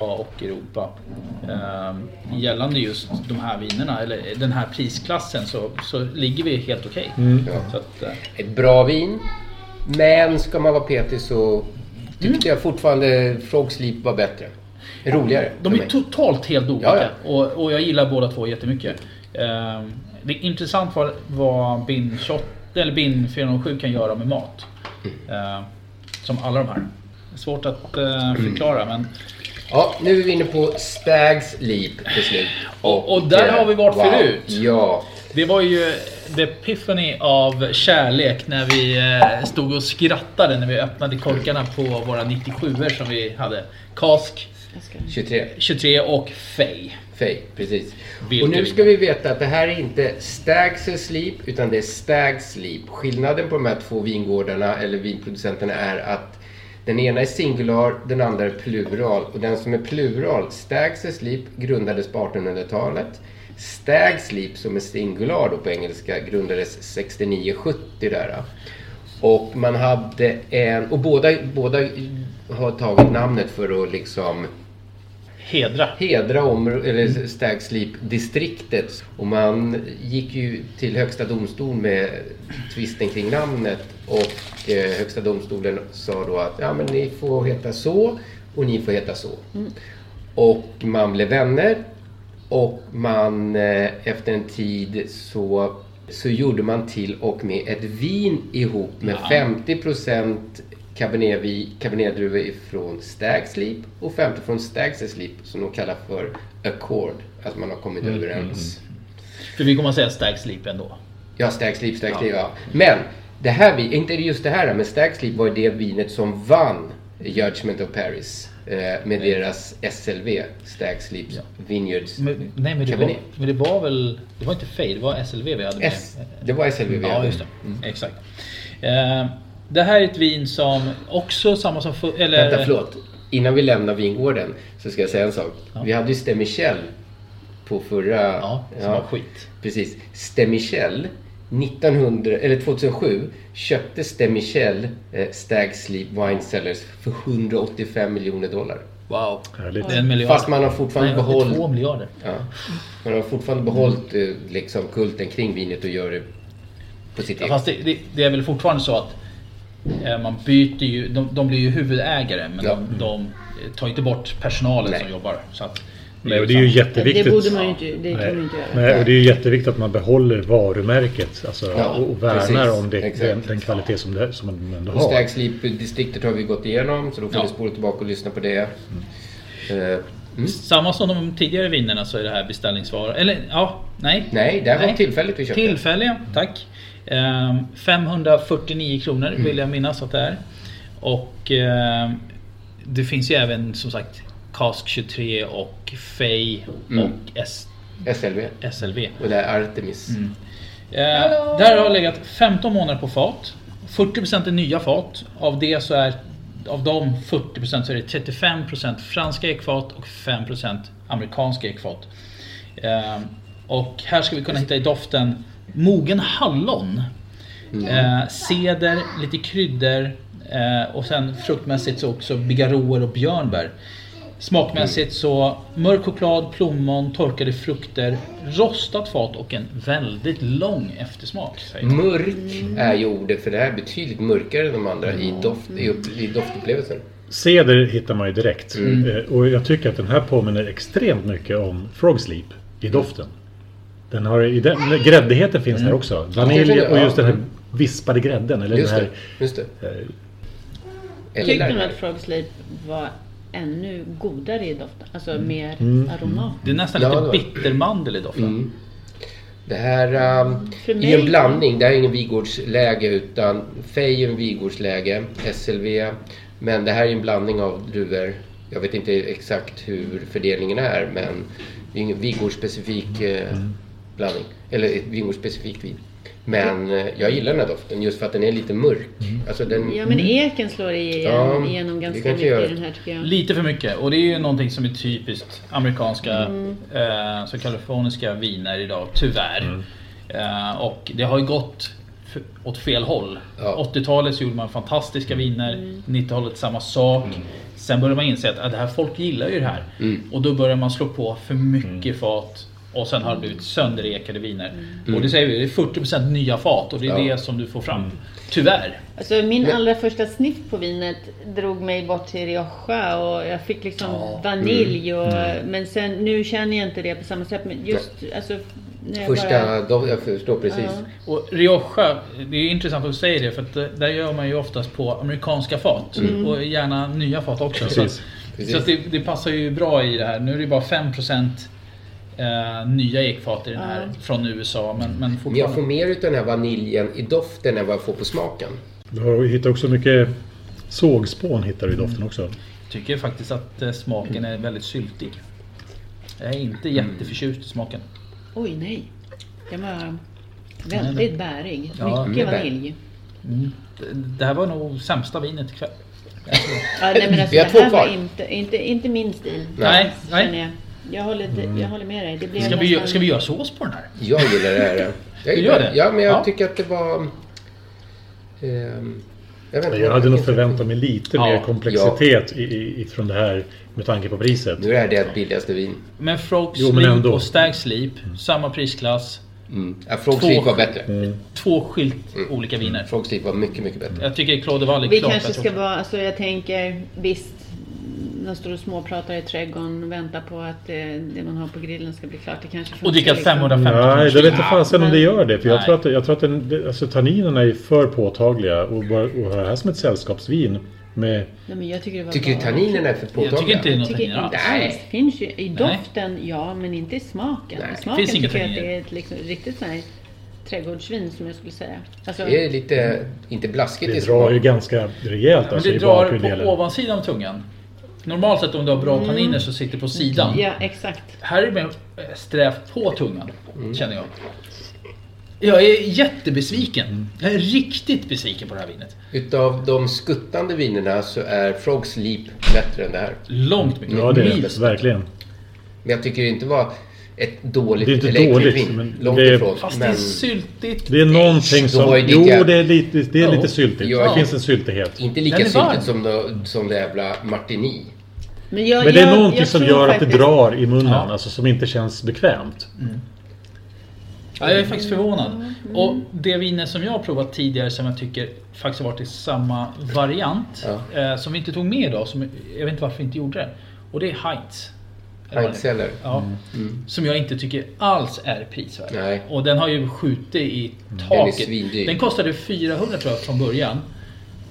[SPEAKER 5] och Europa. Ehm, gällande just de här vinerna, eller den här prisklassen, så, så ligger vi helt okej.
[SPEAKER 6] Mm.
[SPEAKER 5] Så att, eh,
[SPEAKER 6] Ett bra vin. Men ska man vara petig så tyckte
[SPEAKER 9] Mm.
[SPEAKER 6] jag fortfarande Frog Sleep var bättre. Roligare.
[SPEAKER 5] De
[SPEAKER 6] för
[SPEAKER 5] är
[SPEAKER 6] mig.
[SPEAKER 5] totalt helt olika
[SPEAKER 6] Ja,
[SPEAKER 5] Och, och jag gillar båda två jättemycket. Ehm, det är intressant vad, vad bin, 28 eller bin 407 kan göra med mat.
[SPEAKER 6] Mm.
[SPEAKER 5] Ehm, som alla de här. Svårt att eh,
[SPEAKER 6] Mm.
[SPEAKER 5] förklara men...
[SPEAKER 6] Ja, nu är vi inne på Stags Leap till slut.
[SPEAKER 5] Och, och där
[SPEAKER 6] eh,
[SPEAKER 5] har vi varit
[SPEAKER 6] wow.
[SPEAKER 5] förut.
[SPEAKER 6] Ja.
[SPEAKER 5] Det var ju the epiphany av kärlek när vi eh, stod och skrattade när vi öppnade korkarna på våra 97 er som vi hade. Kask
[SPEAKER 6] 23.
[SPEAKER 5] 23 och Fej.
[SPEAKER 6] Fej, precis.
[SPEAKER 5] Vilka
[SPEAKER 6] Och nu
[SPEAKER 5] vi-
[SPEAKER 6] ska vi veta att det här är inte Stags Sleep utan det är Stags Sleep. Skillnaden på de här två vingårdarna eller vinproducenterna är att den ena är singular, den andra är plural. Och den som är plural, Stags Sleep, grundades på 1800-talet. Stags Sleep som är singular då på engelska grundades 69-70 där. då. Och man hade en... Och båda, båda har tagit namnet för att liksom
[SPEAKER 5] Hedra.
[SPEAKER 6] Hedra om, eller Stag Sleep-distriktet. Och man gick ju till Högsta domstol med tvisten kring namnet. Och eh, Högsta domstolen sa då att ja, men ni får heta så och ni får heta så.
[SPEAKER 3] Mm.
[SPEAKER 6] Och man blev vänner. Och man eh, efter en tid så, så gjorde man till och med ett vin ihop med
[SPEAKER 5] Ja.
[SPEAKER 6] 50% cabernetvi- cabernetdruvor ifrån Stags Leap och 50% från Stags Leap som de kallar för Accord. Att man har kommit
[SPEAKER 5] Mm,
[SPEAKER 6] överens.
[SPEAKER 5] För vi kommer att säga Stag Sleep ändå.
[SPEAKER 6] Ja, Stags Leap, Stags
[SPEAKER 5] Ja.
[SPEAKER 6] Leap, ja. Men det här, vi- inte just det här, men Stags Leap var ju det vinet som vann Judgment of Paris eh, med deras SLV, Stags Leaps Vineyards
[SPEAKER 5] Men, nej men det, var,
[SPEAKER 6] Cabernet.
[SPEAKER 5] men det var väl... Det var inte Fej, det var SLV vi hade med.
[SPEAKER 6] S, det var SLV vi
[SPEAKER 5] Ja,
[SPEAKER 6] hade.
[SPEAKER 5] just det. Exakt. Eh, det här är ett vin som också samma som... fu- Eller,
[SPEAKER 6] Vänta, förlåt. Innan vi lämnar vingården så ska jag säga en sak. Vi hade ju Stemichel på förra... Ja,
[SPEAKER 5] som var skit.
[SPEAKER 6] Precis. Stemichel 1900, eller 2007 köpte Stemichel eh, Stag Sleep Wine Cellars för 185 miljoner dollar.
[SPEAKER 5] Wow.
[SPEAKER 6] Härligt.
[SPEAKER 5] Det är en miljard.
[SPEAKER 6] Fast man har fortfarande
[SPEAKER 5] Nej, det är
[SPEAKER 6] behållit...
[SPEAKER 5] två miljarder.
[SPEAKER 6] Ja. Man har fortfarande behållit eh, liksom, kulten kring vinet och gör det på sitt
[SPEAKER 5] Ja,
[SPEAKER 6] eget
[SPEAKER 5] fast det, det, det är väl fortfarande så att eh, man byter ju, de, de blir ju huvudägare men de, de tar inte bort personalen som jobbar. Så att,
[SPEAKER 9] Nej, och det är ju jätteviktigt.
[SPEAKER 3] Det borde man ju inte, det kan man
[SPEAKER 9] Nej.
[SPEAKER 3] inte göra.
[SPEAKER 9] Nej, och det är ju jätteviktigt att man behåller varumärket alltså,
[SPEAKER 6] Ja,
[SPEAKER 9] och och värnar
[SPEAKER 6] precis.
[SPEAKER 9] om det,
[SPEAKER 6] Exakt.
[SPEAKER 9] den, den kvalitet som, det, som man ändå
[SPEAKER 6] Och
[SPEAKER 9] har.
[SPEAKER 6] Stag Sleep-distriktet har vi gått igenom, så då får
[SPEAKER 5] Ja.
[SPEAKER 6] ni spola tillbaka och lyssna på det.
[SPEAKER 9] Mm.
[SPEAKER 6] Eh,
[SPEAKER 5] Samma som de tidigare vinerna så är det här beställningsvara. Eller ja, nej.
[SPEAKER 6] Nej, det här var tillfälligt vi köpte.
[SPEAKER 5] Tillfälliga, tack. Ehm, 549 kronor
[SPEAKER 6] Mm.
[SPEAKER 5] vill jag minnas att det är. Och ehm, det finns ju även som sagt Cask 23 och Fej
[SPEAKER 6] Mm.
[SPEAKER 5] och S-
[SPEAKER 6] SLV.
[SPEAKER 5] SLV.
[SPEAKER 6] Och det är Artemis.
[SPEAKER 5] Eh, där har jag legat 15 månader på fat. 40% är nya fat. Av det så är av de 40% så är det 35% franska ekfat och 5% amerikanska ekfat. Eh, och här ska vi kunna hitta i doften mogen hallon.
[SPEAKER 6] Mm.
[SPEAKER 5] Eh, ceder, lite kryddor eh, och sen fruktmässigt så också bigarråer och björnbär.
[SPEAKER 6] Mm.
[SPEAKER 5] Smakmässigt så mörk choklad, plommon, torkade frukter, rostat fat och en väldigt lång eftersmak. säger
[SPEAKER 6] Mm.
[SPEAKER 5] jag.
[SPEAKER 6] Mörk
[SPEAKER 9] Mm.
[SPEAKER 6] är ju ordet, för det här är betydligt mörkare än de andra i, doft, i, upp- i doftupplevelsen.
[SPEAKER 9] Ceder hittar man ju direkt.
[SPEAKER 6] Mm.
[SPEAKER 9] Eh, Och jag tycker att den här påminner extremt mycket om Frog Sleep i doften. Den har, i den, gräddigheten finns
[SPEAKER 6] Mm.
[SPEAKER 9] där också.
[SPEAKER 6] Ja,
[SPEAKER 9] Vanilj
[SPEAKER 6] det-
[SPEAKER 9] och just
[SPEAKER 6] ja.
[SPEAKER 9] den här vispade grädden. Eller
[SPEAKER 6] Just
[SPEAKER 9] den
[SPEAKER 6] det.
[SPEAKER 9] här, eh,
[SPEAKER 6] Just det.
[SPEAKER 3] Tyckte de att Frog Sleep var ännu godare i doften? Alltså
[SPEAKER 9] Mm.
[SPEAKER 3] mer aromat?
[SPEAKER 5] Det är nästan
[SPEAKER 6] Ja,
[SPEAKER 5] lite
[SPEAKER 6] det var-
[SPEAKER 5] bittermandel i doften.
[SPEAKER 6] Mm. Det här um,
[SPEAKER 3] Mm. För
[SPEAKER 6] är
[SPEAKER 3] mig-
[SPEAKER 6] en blandning. Det här är ingen vigårdsläge utan Fej är en vigårdsläge, SLV. Men det här är en blandning av druvor. Jag vet
[SPEAKER 5] Mm.
[SPEAKER 6] inte exakt hur fördelningen är men det är ingen vigårdsspecifik eh, blandning. Eller ett vingårdsspecifikt vin. Men
[SPEAKER 3] Mm.
[SPEAKER 6] eh, jag gillar den här doften just för att den är lite mörk.
[SPEAKER 5] Mm.
[SPEAKER 6] Alltså den,
[SPEAKER 3] Ja men eken slår igen,
[SPEAKER 6] Ja,
[SPEAKER 3] igenom
[SPEAKER 6] det
[SPEAKER 3] ganska
[SPEAKER 6] kanske
[SPEAKER 3] mycket
[SPEAKER 6] gör
[SPEAKER 3] i
[SPEAKER 6] det.
[SPEAKER 3] den här tycker jag.
[SPEAKER 5] Lite för mycket och det är ju någonting som är typiskt amerikanska
[SPEAKER 3] Mm.
[SPEAKER 5] eh, så kaliforniska viner idag, tyvärr.
[SPEAKER 6] Mm.
[SPEAKER 5] Eh, och det har ju gått f- åt fel håll. 80-talet så gjorde man fantastiska viner, 90-talet samma sak.
[SPEAKER 6] Mm.
[SPEAKER 5] Sen började man inse att ah, det här, folk gillar ju det här. Och då börjar man slå på för mycket fat och sen har det blivit sönderekade viner.
[SPEAKER 6] Mm.
[SPEAKER 5] Och det säger vi, det är 40% nya fat och det är
[SPEAKER 6] Ja. Mm.
[SPEAKER 5] det som du får fram. Tyvärr.
[SPEAKER 3] Alltså min
[SPEAKER 5] Men-
[SPEAKER 3] allra första sniff på vinet drog mig bort till Rioja och jag fick liksom vanilj
[SPEAKER 5] Mm.
[SPEAKER 3] och men sen nu känner jag inte det på samma sätt men just alltså när jag bara,
[SPEAKER 6] doften, jag förstår precis.
[SPEAKER 5] Och Rioja, det är intressant att du säger det för att eh, där gör man ju oftast på amerikanska fat
[SPEAKER 6] Mm.
[SPEAKER 5] och gärna nya fat också. Så,
[SPEAKER 6] Precis.
[SPEAKER 5] att,
[SPEAKER 6] Precis.
[SPEAKER 5] så att det, det passar ju bra i det här. Nu är det bara 5% eh, nya ekfat i den här
[SPEAKER 6] Ja.
[SPEAKER 5] från USA men, men
[SPEAKER 6] Men jag
[SPEAKER 5] fortfarande.
[SPEAKER 6] får mer ut den här vaniljen i doften än vad jag får på smaken.
[SPEAKER 9] Du har- hittar också mycket sågspån hittar du i doften också.
[SPEAKER 5] tycker faktiskt att eh, smaken är väldigt syltig. Jag är inte jätteförtjust i smaken.
[SPEAKER 3] oj nej. Den var
[SPEAKER 5] Nej,
[SPEAKER 3] väldigt
[SPEAKER 5] men-
[SPEAKER 3] bärig.
[SPEAKER 5] Ja,
[SPEAKER 3] mycket
[SPEAKER 5] mm.
[SPEAKER 3] vanilj.
[SPEAKER 5] Mm. Det, det här var nog sämsta vinet ikväll.
[SPEAKER 3] Ja, nej, men alltså,
[SPEAKER 5] Vi har
[SPEAKER 3] det
[SPEAKER 5] två
[SPEAKER 3] här var
[SPEAKER 5] kvar.
[SPEAKER 3] inte, inte, inte min stil.
[SPEAKER 5] Nej, nej. Mm.
[SPEAKER 3] känner Jag. Jag, håller, jag håller med dig. Det blev
[SPEAKER 5] Ska vi, gö-
[SPEAKER 3] nästan-
[SPEAKER 5] ska vi göra sås på den här?
[SPEAKER 6] Jag gillar det här. Jag
[SPEAKER 5] Du
[SPEAKER 6] gillar
[SPEAKER 5] gör
[SPEAKER 6] det?
[SPEAKER 5] det?
[SPEAKER 6] Ja, men jag
[SPEAKER 5] Ja.
[SPEAKER 6] tycker att det var... ehm, jag vet inte.
[SPEAKER 9] Jag hade nog förväntat mig lite
[SPEAKER 6] Ja,
[SPEAKER 9] mer komplexitet i, i, från det här med tanke på priset.
[SPEAKER 6] Nu är det ett billigaste vin.
[SPEAKER 5] Men Frog
[SPEAKER 9] Jo, men
[SPEAKER 5] Sleep
[SPEAKER 9] ändå.
[SPEAKER 5] och Stag Sleep, samma prisklass.
[SPEAKER 6] Mm. Ja, Frog Sleep var bättre.
[SPEAKER 9] Mm.
[SPEAKER 5] Två skilt olika viner.
[SPEAKER 6] Frog Sleep var mycket, mycket bättre.
[SPEAKER 5] Jag tycker Claude Valle är
[SPEAKER 3] Vi
[SPEAKER 5] klart
[SPEAKER 3] kanske
[SPEAKER 5] bättre.
[SPEAKER 3] ska vara, alltså jag tänker visst, de står och småpratar i trädgården och väntar på att eh, det man har på grillen ska bli klart. Det kanske funkar liksom.
[SPEAKER 9] Nej, det vet inte fasen om det gör det. För jag
[SPEAKER 3] Nej.
[SPEAKER 9] tror att, jag tror att den, det- alltså, tanninerna är för påtagliga. Och, bara, och ha det här som ett sällskapsvin med...
[SPEAKER 3] Nej, men jag tycker det var
[SPEAKER 9] Tycker du
[SPEAKER 3] bra.
[SPEAKER 9] tanninerna är för Jag påtagliga? tycker inte det är något
[SPEAKER 3] Jag tycker
[SPEAKER 9] tanniner
[SPEAKER 3] inte
[SPEAKER 9] alls.
[SPEAKER 3] alls.
[SPEAKER 9] Nej.
[SPEAKER 3] Det finns ju i
[SPEAKER 9] Nej.
[SPEAKER 3] doften, ja, men inte i smaken. I smaken
[SPEAKER 6] Finns inga
[SPEAKER 3] tycker jag att det
[SPEAKER 6] tanniner.
[SPEAKER 3] är ett liksom, riktigt sån här trädgårdsvin som jag skulle säga. Alltså,
[SPEAKER 6] Det är lite, inte blaskigt i
[SPEAKER 9] Det drar ju
[SPEAKER 6] smaken.
[SPEAKER 9] ganska rejält
[SPEAKER 5] Men
[SPEAKER 9] alltså,
[SPEAKER 5] det
[SPEAKER 9] i
[SPEAKER 5] drar
[SPEAKER 9] bakhuvuddelen.
[SPEAKER 5] på ovansidan av tungan. Normalt sett om du har bra
[SPEAKER 3] Mm.
[SPEAKER 5] tanniner så sitter det på sidan.
[SPEAKER 3] Ja, exakt.
[SPEAKER 5] Här är det mer eh, strävt på tungan,
[SPEAKER 9] Mm.
[SPEAKER 5] känner jag. Jag är jättebesviken. Jag är riktigt besviken på det här vinet.
[SPEAKER 6] Utav de skuttande vinerna så är Frog Sleep bättre än det här.
[SPEAKER 5] Långt mycket.
[SPEAKER 9] Ja, det är det. Verkligen.
[SPEAKER 6] Men jag tycker det inte var ett dåligt
[SPEAKER 9] Det är inte
[SPEAKER 6] eller äckligt
[SPEAKER 9] dåligt,
[SPEAKER 6] vin.
[SPEAKER 9] men
[SPEAKER 6] Långt
[SPEAKER 9] det är-
[SPEAKER 6] ifrån.
[SPEAKER 9] Fast
[SPEAKER 5] Det är
[SPEAKER 6] men-
[SPEAKER 5] syltigt.
[SPEAKER 9] Det är någonting
[SPEAKER 6] Då var
[SPEAKER 9] som...
[SPEAKER 6] ju det
[SPEAKER 9] Jo,
[SPEAKER 6] jävla-
[SPEAKER 9] det är lite, det är
[SPEAKER 6] Ja.
[SPEAKER 9] lite syltigt.
[SPEAKER 6] Ja.
[SPEAKER 9] Det finns en syltighet.
[SPEAKER 6] Inte lika
[SPEAKER 9] Den är varm.
[SPEAKER 6] syltigt som, det- som det jävla Martini.
[SPEAKER 3] Men, jag,
[SPEAKER 9] Men det är
[SPEAKER 3] jag-
[SPEAKER 9] någonting
[SPEAKER 3] jag
[SPEAKER 9] som
[SPEAKER 3] tror
[SPEAKER 9] gör att
[SPEAKER 3] faktiskt-
[SPEAKER 9] det drar i munnen. Alltså som inte känns bekvämt.
[SPEAKER 5] Ja, jag är faktiskt förvånad. Och det vinet som jag har provat tidigare som jag tycker faktiskt har varit i samma variant. Eh, som vi inte tog med idag. Som, jag vet inte varför vi inte gjorde det. Och det är Heinz. Eller vad det är.
[SPEAKER 6] Heinzeller.
[SPEAKER 5] Ja.
[SPEAKER 6] Mm.
[SPEAKER 5] Som jag inte tycker alls är prisvärd. Och den har ju skjutit i
[SPEAKER 6] Den är
[SPEAKER 5] taket.
[SPEAKER 6] svindyr.
[SPEAKER 5] Den kostade 400 tror jag från början.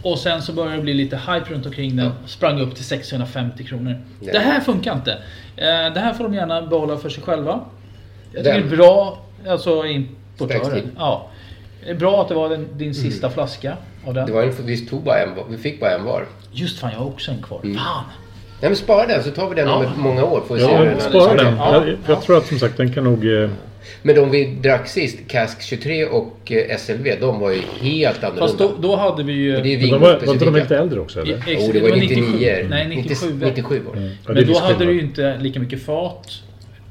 [SPEAKER 5] Och sen så började det bli lite hype runt omkring den. Sprang upp till 650 kronor.
[SPEAKER 6] Nej.
[SPEAKER 5] Det här funkar inte. Eh, Det här får de gärna behålla för sig själva. Jag tycker
[SPEAKER 6] Den.
[SPEAKER 5] det är bra, alltså
[SPEAKER 6] Stärkstil.
[SPEAKER 5] importören. Ja. Det är bra att det var den, din sista flaska av den.
[SPEAKER 6] Mm. Det var en, vi, tog bara en, var- vi fick bara en var.
[SPEAKER 5] Just fan, jag har också en kvar.
[SPEAKER 6] Mm.
[SPEAKER 5] Fan!
[SPEAKER 6] Nej men spara den så tar vi den om ett- många år. Får vi se hur
[SPEAKER 9] Ja,
[SPEAKER 6] den
[SPEAKER 9] spara den.
[SPEAKER 6] Ja.
[SPEAKER 9] Jag, jag tror att som sagt den kan nog... eh,
[SPEAKER 6] Men de vi drack sist, Cask 23 och eh, SLV, de var ju helt annorlunda.
[SPEAKER 5] Fast då, då hade vi ju...
[SPEAKER 6] Och det är vingård- Men de var- var inte de lite
[SPEAKER 9] äldre också, eller?
[SPEAKER 5] I-
[SPEAKER 6] Jo, det
[SPEAKER 5] det
[SPEAKER 6] var
[SPEAKER 5] var
[SPEAKER 6] 99.
[SPEAKER 5] 97. Nej, 97.
[SPEAKER 6] 97 var det. Mm. Ja, det är
[SPEAKER 5] Men då hade
[SPEAKER 6] visserligen.
[SPEAKER 5] du ju inte lika mycket fat.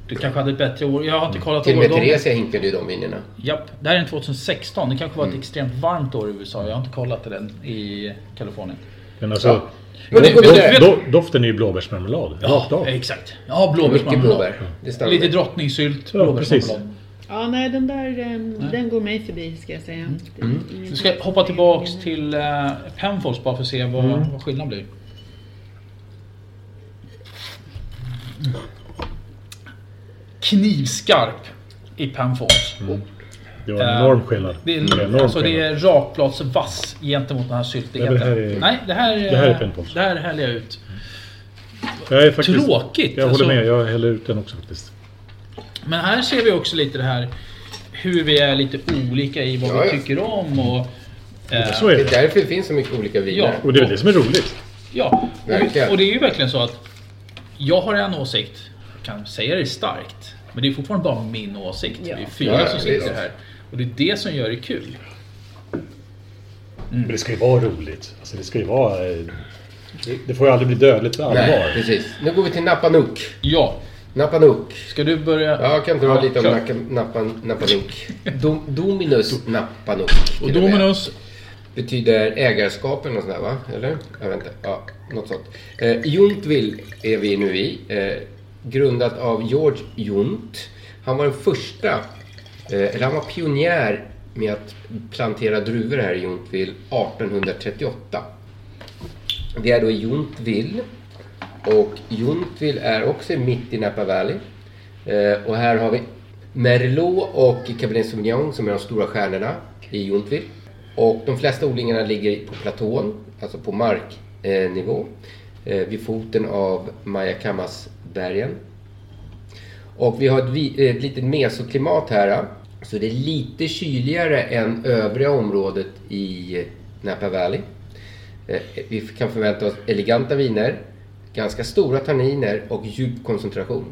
[SPEAKER 5] Du kanske hade ett bättre år. Jag har inte kollat
[SPEAKER 6] Till och med
[SPEAKER 5] årgången.
[SPEAKER 6] Theresia hinkade ju de vinerna.
[SPEAKER 5] Japp, det här är en 2016. Det kanske var ett extremt varmt år i USA. Jag har inte kollat den i Kalifornien.
[SPEAKER 9] Men alltså...
[SPEAKER 5] Ja.
[SPEAKER 9] Men
[SPEAKER 5] Men
[SPEAKER 9] do,
[SPEAKER 5] det-
[SPEAKER 9] do,
[SPEAKER 5] men det-
[SPEAKER 9] do, doften är ju blåbärsmarmelad. Rakt
[SPEAKER 5] Ja,
[SPEAKER 9] av.
[SPEAKER 5] exakt. Ja, blåbärsmarmelad. Lite drottningsylt,
[SPEAKER 9] Ja, precis.
[SPEAKER 5] blåbärsmarmelad.
[SPEAKER 3] Ja, nej, den där eh, den går mig förbi ska jag
[SPEAKER 9] Mm.
[SPEAKER 3] säga. Det är ingen-
[SPEAKER 5] Vi ska hoppa tillbaks till uh, Penfolds bara för att se vad,
[SPEAKER 9] Mm.
[SPEAKER 5] vad skillnaden blir. Knivskarp i Penfolds.
[SPEAKER 9] Det var en enorm
[SPEAKER 5] Eh,
[SPEAKER 9] skillnad.
[SPEAKER 5] Det är,
[SPEAKER 9] Det var en enorm
[SPEAKER 5] alltså det är rakbladsvass gentemot den här syltigheten.
[SPEAKER 9] Nej, men det här är-
[SPEAKER 5] Nej, det här,
[SPEAKER 9] det här är Penfolds.
[SPEAKER 5] Det här häller jag ut.
[SPEAKER 9] Jag är faktiskt,
[SPEAKER 5] Tråkigt,
[SPEAKER 9] Jag
[SPEAKER 5] alltså.
[SPEAKER 9] håller med. Jag häller ut den också faktiskt.
[SPEAKER 5] Men här ser vi också lite det här hur vi är lite olika i vad
[SPEAKER 6] Ja,
[SPEAKER 5] vi
[SPEAKER 6] ja.
[SPEAKER 5] tycker om och... eh,
[SPEAKER 9] Så är det.
[SPEAKER 6] Det är därför det finns så mycket olika viner.
[SPEAKER 5] Ja.
[SPEAKER 9] Och det är väl det som är roligt.
[SPEAKER 5] Ja, och,
[SPEAKER 6] Verkligen.
[SPEAKER 5] och det är ju verkligen så att jag har en åsikt, jag kan säga det starkt, Men det är fortfarande bara min åsikt.
[SPEAKER 3] Ja.
[SPEAKER 5] Det är fyra
[SPEAKER 9] Ja,
[SPEAKER 5] som
[SPEAKER 9] ja,
[SPEAKER 5] sitter
[SPEAKER 9] visst.
[SPEAKER 5] här. Och det är det som gör det kul.
[SPEAKER 9] Men det ska ju vara roligt. Alltså det ska ju vara... eh, Det, det får ju aldrig bli dödligt på allvar.
[SPEAKER 6] Nej, precis. Nu går vi till Napanuk.
[SPEAKER 5] Ja.
[SPEAKER 6] Napanuk.
[SPEAKER 5] Ska du börja?
[SPEAKER 6] Ja, kan du dra
[SPEAKER 5] Ja,
[SPEAKER 6] lite om
[SPEAKER 5] kör.
[SPEAKER 6] Naka- Napan- Napanuk. Dom, Dominus Napanuk.
[SPEAKER 5] Och
[SPEAKER 6] till och med.
[SPEAKER 5] Dominus?
[SPEAKER 6] Betyder ägarskapen och sådär va? Eller? Jag vet inte. Ja, något sånt. Eh, Juntville är vi nu i. Eh, grundat av George Junt. Han var den första, eh, eller han var pionjär med att plantera druvor här i Juntville 1838. Vi är då i Juntville. Och Juntville är också mitt i Napa Valley. Eh, och här har vi Merlot och Cabernet Sauvignon som är de stora stjärnorna i Juntville. Och de flesta odlingarna ligger på platån, alltså på marknivå. Eh, nivå, eh, vid foten av Majakammasbergen. Och vi har ett, vi- eh, ett litet mesoklimat här. eh, Så det är lite kyligare än övriga området i Napa Valley. Eh, Vi kan förvänta oss eleganta viner, ganska stora tanniner och djup koncentration.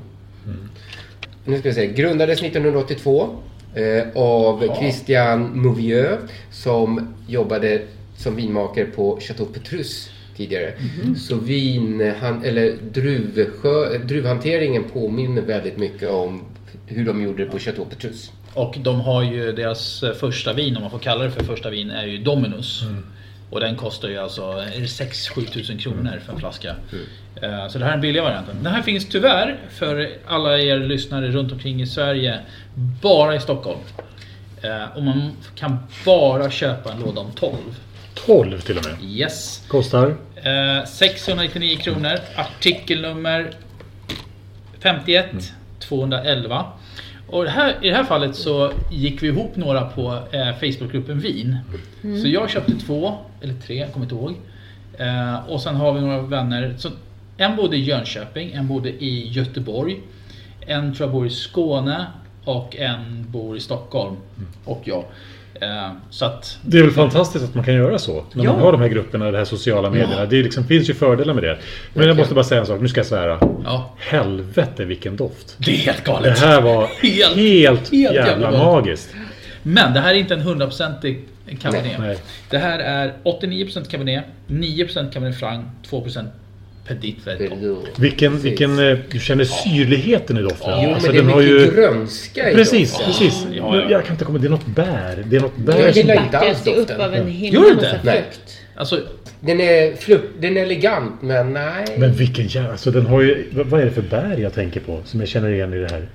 [SPEAKER 6] Nu ska vi se. Grundades 1982 eh, av
[SPEAKER 11] Ja.
[SPEAKER 6] Christian Mouvieux som jobbade som vinmakare på Chateau Petrus tidigare.
[SPEAKER 11] Mhm.
[SPEAKER 6] Så vin, han, eller druvskö, druvhanteringen påminner väldigt mycket om hur de gjorde det på Chateau Petrus.
[SPEAKER 5] Och de har ju deras eh, första vin, om man får kalla det för första vin, är ju Dominus.
[SPEAKER 9] Mm.
[SPEAKER 5] Och den kostar ju alltså 6-7 tusen
[SPEAKER 9] Mm.
[SPEAKER 5] kronor för en flaska. Eh, Så det här är den billiga varianten. Den här finns tyvärr för alla er lyssnare runt omkring i Sverige bara i Stockholm. Eh, Och man kan bara köpa en låda om 12.
[SPEAKER 9] 12 till och med.
[SPEAKER 5] Yes.
[SPEAKER 9] Kostar?
[SPEAKER 5] Eh, 699 kronor. Artikelnummer 51 211. Och det här, I det här fallet så gick vi ihop några på eh, Facebookgruppen Vin.
[SPEAKER 11] Mm.
[SPEAKER 5] Så jag köpte två, eller tre, jag kommer inte ihåg. Eh, och sen har vi några vänner. Så en bodde i Jönköping, en bodde i Göteborg. En tror jag bor i Skåne och en bor i Stockholm. Och jag. Eh, så att
[SPEAKER 9] Det är väl fantastiskt att man kan göra så. När
[SPEAKER 5] Ja.
[SPEAKER 9] man har de här grupperna, de här sociala medierna.
[SPEAKER 5] Ja.
[SPEAKER 9] Det är liksom, finns ju fördelar med det. Men jag måste bara säga en sak. Nu ska jag svära.
[SPEAKER 5] Ja.
[SPEAKER 9] Helvete vilken doft.
[SPEAKER 5] Det är helt galet.
[SPEAKER 9] Det här var
[SPEAKER 5] Helt-
[SPEAKER 9] helt,
[SPEAKER 5] helt
[SPEAKER 9] jävla,
[SPEAKER 5] jävla galet.
[SPEAKER 9] magiskt.
[SPEAKER 5] Men det här är inte en 100% Cabernet.
[SPEAKER 9] Nej.
[SPEAKER 5] Det här är 89% Cabernet, 9% Cabernet Franc, 2% Petit Verdot.
[SPEAKER 9] Vilken, vilken, eh, du känner syrligheten i doften.
[SPEAKER 5] Ja, men det är mycket grönska i
[SPEAKER 9] Precis,
[SPEAKER 5] doften.
[SPEAKER 9] precis.
[SPEAKER 5] Ja, ja, ja.
[SPEAKER 9] Jag kan inte komma... Det är något bär. Det är något bär
[SPEAKER 6] Jag
[SPEAKER 9] som-
[SPEAKER 6] gillar inte alls doften.
[SPEAKER 5] Gör du inte?
[SPEAKER 6] Nej.
[SPEAKER 5] Alltså,
[SPEAKER 6] den, är flukt, den är elegant men nej.
[SPEAKER 9] Men vilken jävla... Alltså den har ju... Vad vad är det för bär jag tänker på som jag känner igen i det här?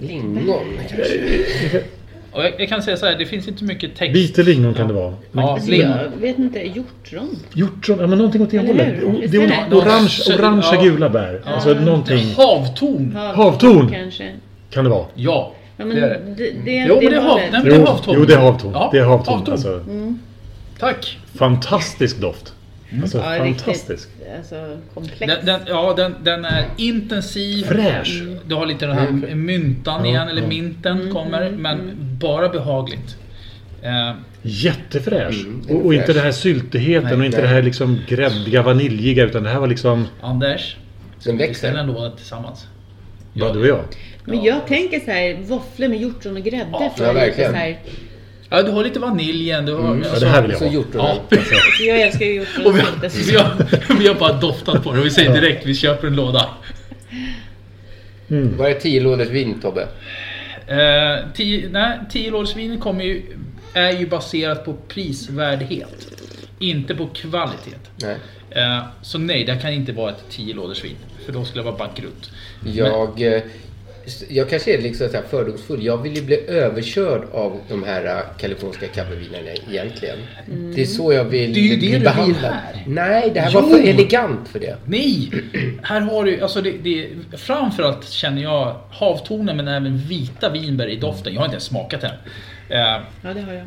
[SPEAKER 6] Lingon kanske.
[SPEAKER 5] Och jag, jag kan säga så här, det finns inte mycket text.
[SPEAKER 9] Vite lingon kan det vara. Men-
[SPEAKER 5] Ja,
[SPEAKER 3] Alltså,
[SPEAKER 5] lingon.
[SPEAKER 3] jag vet inte, hjortron?
[SPEAKER 9] Hjortron, ja men någonting åt det
[SPEAKER 3] Eller
[SPEAKER 9] hållet.
[SPEAKER 3] hur?
[SPEAKER 9] O-
[SPEAKER 3] Visst
[SPEAKER 9] Det
[SPEAKER 3] är
[SPEAKER 9] är
[SPEAKER 3] det?
[SPEAKER 9] orange,
[SPEAKER 3] Ja.
[SPEAKER 9] orangea
[SPEAKER 3] Ja.
[SPEAKER 9] gula bär.
[SPEAKER 3] Ja.
[SPEAKER 9] Alltså någonting
[SPEAKER 5] Havtorn!
[SPEAKER 9] Havtorn.
[SPEAKER 3] Kanske.
[SPEAKER 9] kan det vara.
[SPEAKER 5] Ja.
[SPEAKER 3] Ja, men
[SPEAKER 5] Det
[SPEAKER 3] det
[SPEAKER 5] är
[SPEAKER 3] är
[SPEAKER 5] det.
[SPEAKER 3] Det, det,
[SPEAKER 5] Jo, men det är hav-
[SPEAKER 3] hållet.
[SPEAKER 5] nej, men det är
[SPEAKER 9] Jo,
[SPEAKER 5] havtorn.
[SPEAKER 9] jo, det är havtorn.
[SPEAKER 5] Ja,
[SPEAKER 9] Det är havtorn.
[SPEAKER 5] havtorn.
[SPEAKER 9] Alltså,
[SPEAKER 3] Mm.
[SPEAKER 5] Tack!
[SPEAKER 9] fantastisk doft. Alltså,
[SPEAKER 3] Ja,
[SPEAKER 9] fantastisk.
[SPEAKER 3] Riktigt, alltså, komplex.
[SPEAKER 5] Den, den, ja, den, den är intensiv.
[SPEAKER 9] Fräsch.
[SPEAKER 5] Mm. Du har lite den här myntan
[SPEAKER 9] Mm. Ja,
[SPEAKER 5] igen, eller
[SPEAKER 9] ja.
[SPEAKER 5] minten kommer. Men bara behagligt. Eh,
[SPEAKER 9] Jättefräsch.
[SPEAKER 5] Mm, den är
[SPEAKER 9] och, och inte
[SPEAKER 5] fräsch.
[SPEAKER 9] den här syltigheten
[SPEAKER 5] Nej,
[SPEAKER 9] och inte
[SPEAKER 5] nej.
[SPEAKER 9] det här liksom gräddiga, vaniljiga. Utan det här var liksom...
[SPEAKER 5] Anders,
[SPEAKER 6] den
[SPEAKER 5] växer. Vi låda tillsammans.
[SPEAKER 9] Bara du och jag.
[SPEAKER 3] Men jag tänker så här, våfflor med hjortron och grädde.
[SPEAKER 5] Ja,
[SPEAKER 3] för jag är lite
[SPEAKER 5] verkligen.
[SPEAKER 3] Så här,
[SPEAKER 5] Ja, du har lite vaniljen. Du har,
[SPEAKER 9] Mm, ja, det här vill jag Så ha. gjort du
[SPEAKER 5] ja.
[SPEAKER 3] alltså, jag älskar ju hjortron.
[SPEAKER 5] Och vi,
[SPEAKER 3] inte
[SPEAKER 5] har, *laughs*
[SPEAKER 3] så-
[SPEAKER 5] vi, har, vi har bara doftat på det och vi säger direkt vi köper en låda.
[SPEAKER 6] Vad är 10 lådors vin Tobbe?
[SPEAKER 5] Eh, tio, nej, tiolådsvinen kommer ju, är ju baserat på prisvärdhet. Inte på kvalitet.
[SPEAKER 6] Nej.
[SPEAKER 5] Eh, så nej, det här kan inte vara ett tiolådersvin. För då skulle jag vara bankrutt.
[SPEAKER 6] Jag, eh, s- jag kanske är liksom så här fördomsfull. Jag vill ju bli överkörd av de här eh, kaliforniska kaffevinerna egentligen.
[SPEAKER 5] Mm.
[SPEAKER 6] Det är så jag vill
[SPEAKER 5] Det är ju
[SPEAKER 6] bli
[SPEAKER 5] det du
[SPEAKER 6] behandlad.
[SPEAKER 5] vill här.
[SPEAKER 6] Nej, det här var
[SPEAKER 5] Jo.
[SPEAKER 6] för elegant för det.
[SPEAKER 5] Nej! Här har du, alltså det, det, framförallt känner jag havtornen men även vita vinbär i doften. Jag har inte ens smakat den. Eh,
[SPEAKER 3] Ja, det har jag.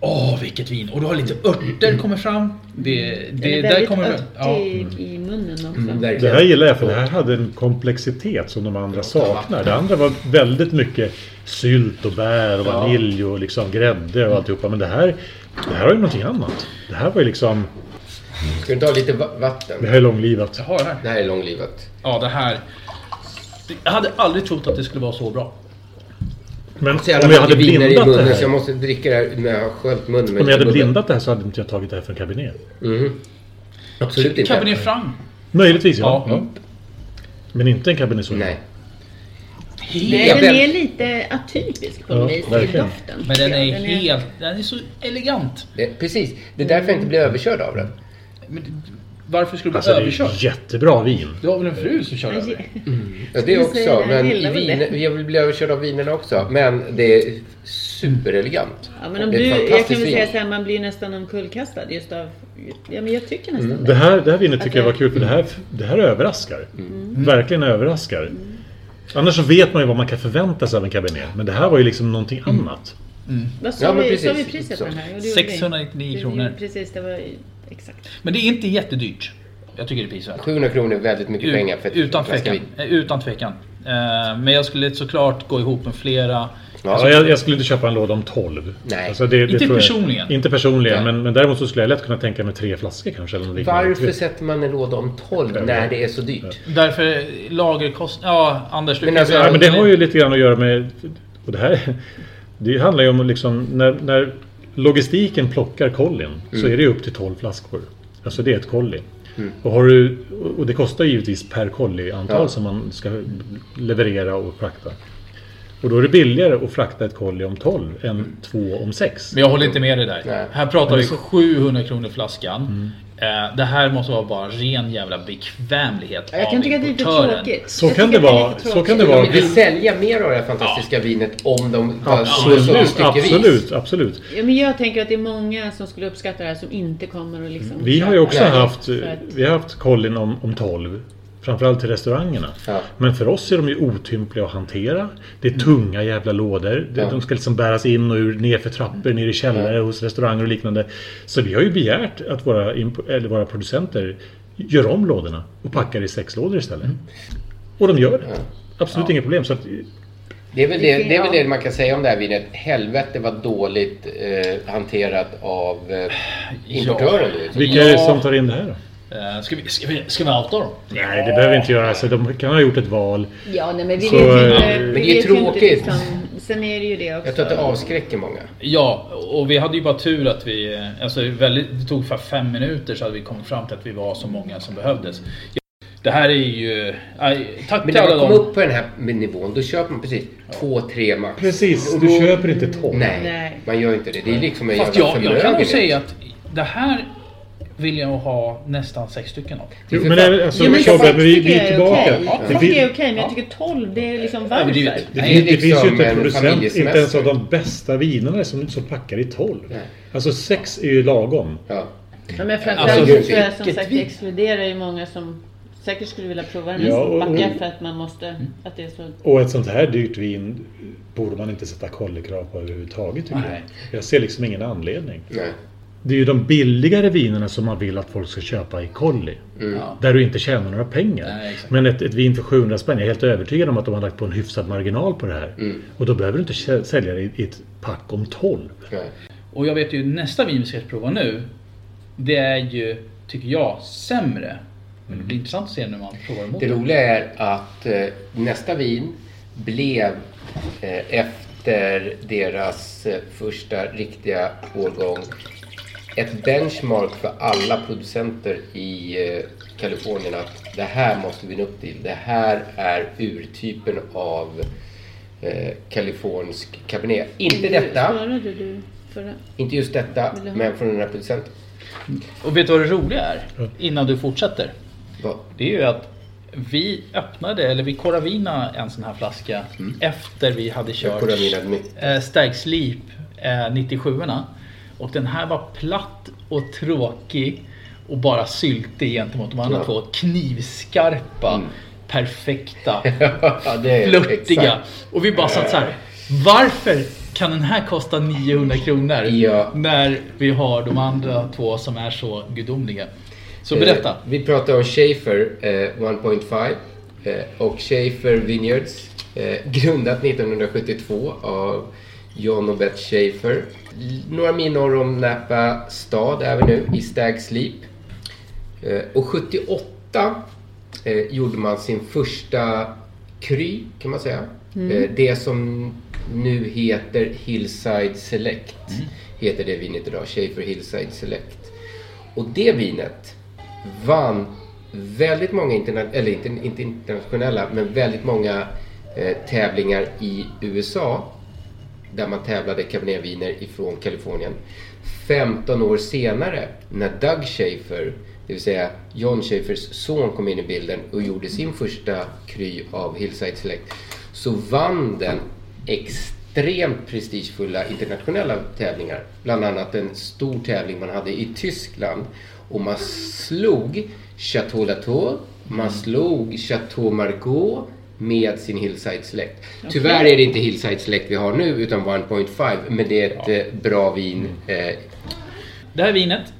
[SPEAKER 5] Åh, vilket vin! Och du har lite örter kommer fram. Det,
[SPEAKER 3] Den
[SPEAKER 5] det,
[SPEAKER 3] Mm. är
[SPEAKER 5] där
[SPEAKER 3] väldigt
[SPEAKER 5] kommer
[SPEAKER 3] örtig i munnen också.
[SPEAKER 6] Mm.
[SPEAKER 9] Det här gillar jag för det här hade en komplexitet som de andra saknar. Det andra var väldigt mycket sylt och bär och
[SPEAKER 5] Ja.
[SPEAKER 9] vanilj och liksom grädde och alltihopa. Men det här, det här var ju någonting annat. Det här var ju liksom...
[SPEAKER 6] Ska du ta lite va- vatten?
[SPEAKER 9] Det här är långlivat.
[SPEAKER 5] Jag har det här.
[SPEAKER 6] Det här är långlivat.
[SPEAKER 5] Ja, det här. Jag hade aldrig trott att det skulle vara så bra.
[SPEAKER 9] Men
[SPEAKER 6] Så jävla
[SPEAKER 9] om jag hade
[SPEAKER 6] mycket viner i
[SPEAKER 9] blindat det
[SPEAKER 6] munnen
[SPEAKER 9] här.
[SPEAKER 6] så jag måste dricka det här när jag har sköljt munnen med
[SPEAKER 9] Om jag hade
[SPEAKER 6] lite bubbel.
[SPEAKER 9] blindat det här så hade inte jag tagit det här från Cabernet.
[SPEAKER 6] Mhm. Absolut inte.
[SPEAKER 5] Cabernet Franc.
[SPEAKER 9] Möjligtvis ja. ja. Men inte en Cabernet Sauvignon. Nej.
[SPEAKER 3] Nej,
[SPEAKER 5] Helt-
[SPEAKER 3] den är lite atypisk på något vis i doften.
[SPEAKER 5] Men den är
[SPEAKER 3] Ja, den är-
[SPEAKER 5] helt... Den är så elegant.
[SPEAKER 6] Det, precis. Det är därför jag inte blir överkörd av den.
[SPEAKER 5] Varför skulle du bli
[SPEAKER 9] Alltså det är ju
[SPEAKER 5] överkörd?
[SPEAKER 9] jättebra vin.
[SPEAKER 5] Du har väl en fru som kör
[SPEAKER 3] Nej,
[SPEAKER 5] över?
[SPEAKER 6] Ja, det också. Men i vin, jag vill bli överkörd av vinerna också. Men det är superelegant.
[SPEAKER 3] Ja, men om
[SPEAKER 6] Det är
[SPEAKER 3] du,
[SPEAKER 6] ett
[SPEAKER 3] jag
[SPEAKER 6] fantastiskt
[SPEAKER 3] kan väl
[SPEAKER 6] vin.
[SPEAKER 3] säga så här, man blir ju nästan omkullkastad just av... Ja, men jag tycker nästan
[SPEAKER 9] Mm. Det här, det här vinet
[SPEAKER 3] Att
[SPEAKER 9] tycker jag var kul för det här, det här överraskar. Verkligen överraskar. Annars så vet man ju vad man kan förvänta sig av en Cabernet. Men det här var ju liksom någonting annat.
[SPEAKER 3] Vad sa,
[SPEAKER 5] Ja, men
[SPEAKER 3] vi, sa vi
[SPEAKER 5] precis.
[SPEAKER 3] priset på den här? Jo, det gjorde vi.
[SPEAKER 5] 699
[SPEAKER 3] Det-
[SPEAKER 5] kronor.
[SPEAKER 3] Precis, det var exakt.
[SPEAKER 5] Men det är inte jättedyrt. Jag tycker det är prisvärt.
[SPEAKER 6] 700 kronor är väldigt mycket
[SPEAKER 5] Ut-
[SPEAKER 6] pengar för ett
[SPEAKER 5] utan,
[SPEAKER 6] flaska
[SPEAKER 5] tvekan, Eh, utan tvekan. Eh, Men jag skulle såklart gå ihop med flera.
[SPEAKER 9] Alltså, jag, jag skulle inte köpa en låda om 12.
[SPEAKER 5] Nej.
[SPEAKER 9] Alltså, det, det
[SPEAKER 5] Inte
[SPEAKER 9] tror jag-
[SPEAKER 5] personligen.
[SPEAKER 9] Inte personligen. Men, men däremot så skulle jag lätt kunna tänka mig tre flaskor kanske. Eller något liknande.
[SPEAKER 6] Varför sätter man en låda om 12 när det är så dyrt?
[SPEAKER 5] Därför lagerkost... Ja, Anders du
[SPEAKER 6] Men
[SPEAKER 5] kan
[SPEAKER 6] alltså-
[SPEAKER 5] säga-
[SPEAKER 9] Ja, men det har ju lite grann att göra med... Och det, här, det handlar ju om liksom, när, när logistiken plockar kollin så
[SPEAKER 6] Mm.
[SPEAKER 9] är det ju upp till 12 flaskor. Alltså det är ett kolli.
[SPEAKER 6] Mm.
[SPEAKER 9] Och, har du, och det kostar givetvis per kolli antal
[SPEAKER 6] Ja.
[SPEAKER 9] som man ska leverera och frakta. Och då är det billigare att frakta ett kolli om 12 än två om 6.
[SPEAKER 5] Men jag håller inte med dig där. Här pratar
[SPEAKER 9] Men
[SPEAKER 5] vi
[SPEAKER 9] det-
[SPEAKER 5] 700 kronor flaskan. Eh, Det här måste vara bara ren jävla bekvämlighet
[SPEAKER 3] Jag kan
[SPEAKER 5] av
[SPEAKER 3] tycka att det är lite
[SPEAKER 5] importören.
[SPEAKER 3] tråkigt.
[SPEAKER 9] Så Jag kan tycker det att det är vara. lite Så kan det vara.
[SPEAKER 6] De vill sälja mer av det här fantastiska vinet om de sålde
[SPEAKER 9] Absolut,
[SPEAKER 6] styckevis.
[SPEAKER 9] absolut, absolut.
[SPEAKER 3] Ja, men jag tänker att det är många som skulle uppskatta det här som inte kommer och liksom...
[SPEAKER 9] Mm. Vi har ju också
[SPEAKER 3] köper.
[SPEAKER 9] haft,
[SPEAKER 3] Så att-
[SPEAKER 9] vi har haft kollin om, om 12. Framförallt till restaurangerna. Men för oss är de ju otympliga att hantera. Det är tunga jävla lådor. Det-
[SPEAKER 6] Ja.
[SPEAKER 9] De ska liksom bäras in och ur, nerför trappor, ner i källare
[SPEAKER 6] Ja.
[SPEAKER 9] hos restauranger och liknande. Så vi har ju begärt att våra, imp- eller våra producenter gör om lådorna och packar i sex lådor istället.
[SPEAKER 6] Mm.
[SPEAKER 9] Och de gör det. Absolut inget problem. Så att,
[SPEAKER 6] Det är, väl det, det är väl det man kan säga om det här vinet. Helvete vad dåligt eh, hanterat av eh, importören.
[SPEAKER 5] Ja.
[SPEAKER 6] Liksom.
[SPEAKER 9] vilka är det som tar in det här då?
[SPEAKER 5] Eh, Ska vi, ska vi, ska vi outa dem?
[SPEAKER 9] Nej, det behöver vi inte göra. Alltså, de kan ha gjort ett val.
[SPEAKER 3] Ja, nej, men vi
[SPEAKER 9] Så,
[SPEAKER 3] vet ju
[SPEAKER 9] eh,
[SPEAKER 3] inte...
[SPEAKER 9] Men
[SPEAKER 3] vi
[SPEAKER 9] det är
[SPEAKER 3] vet ju inte
[SPEAKER 9] tråkigt.
[SPEAKER 3] liksom- Sen är det ju det också.
[SPEAKER 6] Jag tror att det avskräcker många.
[SPEAKER 5] Ja, och vi hade ju bara tur att vi... eh, Alltså väldigt, det tog ungefär fem minuter så hade vi kommit fram till att vi var så många som behövdes. Det här är ju... Aj, tack till
[SPEAKER 6] Men när
[SPEAKER 5] alla
[SPEAKER 6] man kommer
[SPEAKER 5] dem.
[SPEAKER 6] upp på den här nivån då köper man precis två, tre max.
[SPEAKER 9] Precis,
[SPEAKER 6] Och
[SPEAKER 9] du
[SPEAKER 6] då-
[SPEAKER 9] köper inte 12.
[SPEAKER 6] Nej, man gör inte det. Det är liksom en
[SPEAKER 5] Fast
[SPEAKER 6] jävla
[SPEAKER 5] jag, jag kan nog
[SPEAKER 6] förmögenhet.
[SPEAKER 5] säga att det här vill jag ha nästan sex stycken av.
[SPEAKER 9] Jo, men det är- alltså, Jo, men Tobbe,
[SPEAKER 3] sex
[SPEAKER 9] men vi- vi är
[SPEAKER 3] tycker jag
[SPEAKER 9] tillbaka.
[SPEAKER 3] okej.
[SPEAKER 9] Ja.
[SPEAKER 3] Sex
[SPEAKER 9] Det fin-
[SPEAKER 3] är okej, men jag tycker 12, det är liksom varför?
[SPEAKER 9] Det, finns- det finns ju inte
[SPEAKER 6] liksom
[SPEAKER 9] en producent, inte ens av de bästa vinerna som, som packar i 12. Alltså 6 är ju lagom.
[SPEAKER 3] Ja, men
[SPEAKER 9] Alltså,
[SPEAKER 3] framförallt så tror jag som
[SPEAKER 9] vilket
[SPEAKER 3] sagt det exkluderar ju många som säkert skulle vilja prova den
[SPEAKER 9] Ja,
[SPEAKER 3] ja,
[SPEAKER 9] och-
[SPEAKER 3] och backar
[SPEAKER 9] och- Mm.
[SPEAKER 3] för att man måste... Att det är så...
[SPEAKER 9] Och ett sånt här dyrt vin borde man inte sätta kollekrav på överhuvudtaget. Tycker jag.
[SPEAKER 3] Nej.
[SPEAKER 9] jag ser liksom ingen anledning.
[SPEAKER 6] Nej.
[SPEAKER 9] Det är ju de billigare vinerna som man vill att folk ska köpa i kolli.
[SPEAKER 6] Mm.
[SPEAKER 9] Där du inte tjänar några pengar.
[SPEAKER 6] Nej, exakt.
[SPEAKER 9] Men ett, ett vin för 700 spänn, jag är helt övertygad om att de har lagt på en hyfsad marginal på det här. Och då behöver du inte kä- sälja det i, i ett pack om 12.
[SPEAKER 5] Och jag vet ju nästa vin vi ska prova nu. Det är ju, tycker jag, sämre. Men det blir intressant att se när man provar emot
[SPEAKER 6] Mm. Det roliga är att eh, nästa vin blev eh, efter deras eh, första riktiga årgång ett benchmark för alla producenter i eh, Kalifornien att det här måste vi nå upp till. Det här är urtypen av eh, kalifornisk cabernet. Inte detta,
[SPEAKER 3] Svarade du förra?
[SPEAKER 6] inte just detta, men från den här producenten.
[SPEAKER 5] Och vet du vad det roliga är? Innan du fortsätter. Det är ju att vi öppnade, eller vi koravina en sån här flaska
[SPEAKER 6] Mm.
[SPEAKER 5] efter vi hade kört
[SPEAKER 6] koravinade mycket.
[SPEAKER 5] eh, Stag Sleep eh, 97 Och den här var platt och tråkig och bara syltig gentemot de andra
[SPEAKER 6] Ja.
[SPEAKER 5] två.
[SPEAKER 6] Mm.
[SPEAKER 5] Knivskarpa, perfekta,
[SPEAKER 6] *laughs* *laughs* Ja, det är
[SPEAKER 5] flörtiga.
[SPEAKER 6] exakt.
[SPEAKER 5] Och vi bara satt så här. Varför kan den här kosta 900 kronor? När vi har de andra två som är så gudomliga. Så berätta.
[SPEAKER 6] Eh, vi pratar om Schaefer eh, 1.5 eh, och Schaefer Vineyards. Eh, grundat 1972 av John och Beth Schaefer. L- Några mil norr om Napa stad är vi nu i Stag Sleep. Eh, och 78 eh, gjorde man sin första Kry kan man säga.
[SPEAKER 11] Mm.
[SPEAKER 6] Eh, Det som nu heter Hillside Select heter det vinet idag. Schaefer Hillside Select. Och det vinet vann väldigt många, interna- eller inte, inte internationella, men väldigt många eh, tävlingar i USA. Där man tävlade cabernetviner ifrån Kalifornien. 15 år senare när Doug Schaefer, det vill säga John Schafers son kom in i bilden och gjorde sin första kry av Hillside Select. Så vann den extremt prestigefulla internationella tävlingar. Bland annat en stor tävling man hade i Tyskland. Och man slog Chateau Latour, man slog Chateau Margaux med sin Hillside Select. Tyvärr är det inte Hillside Select vi har nu utan 1.5 men det är ett eh, bra vin eh,
[SPEAKER 5] Det här vinet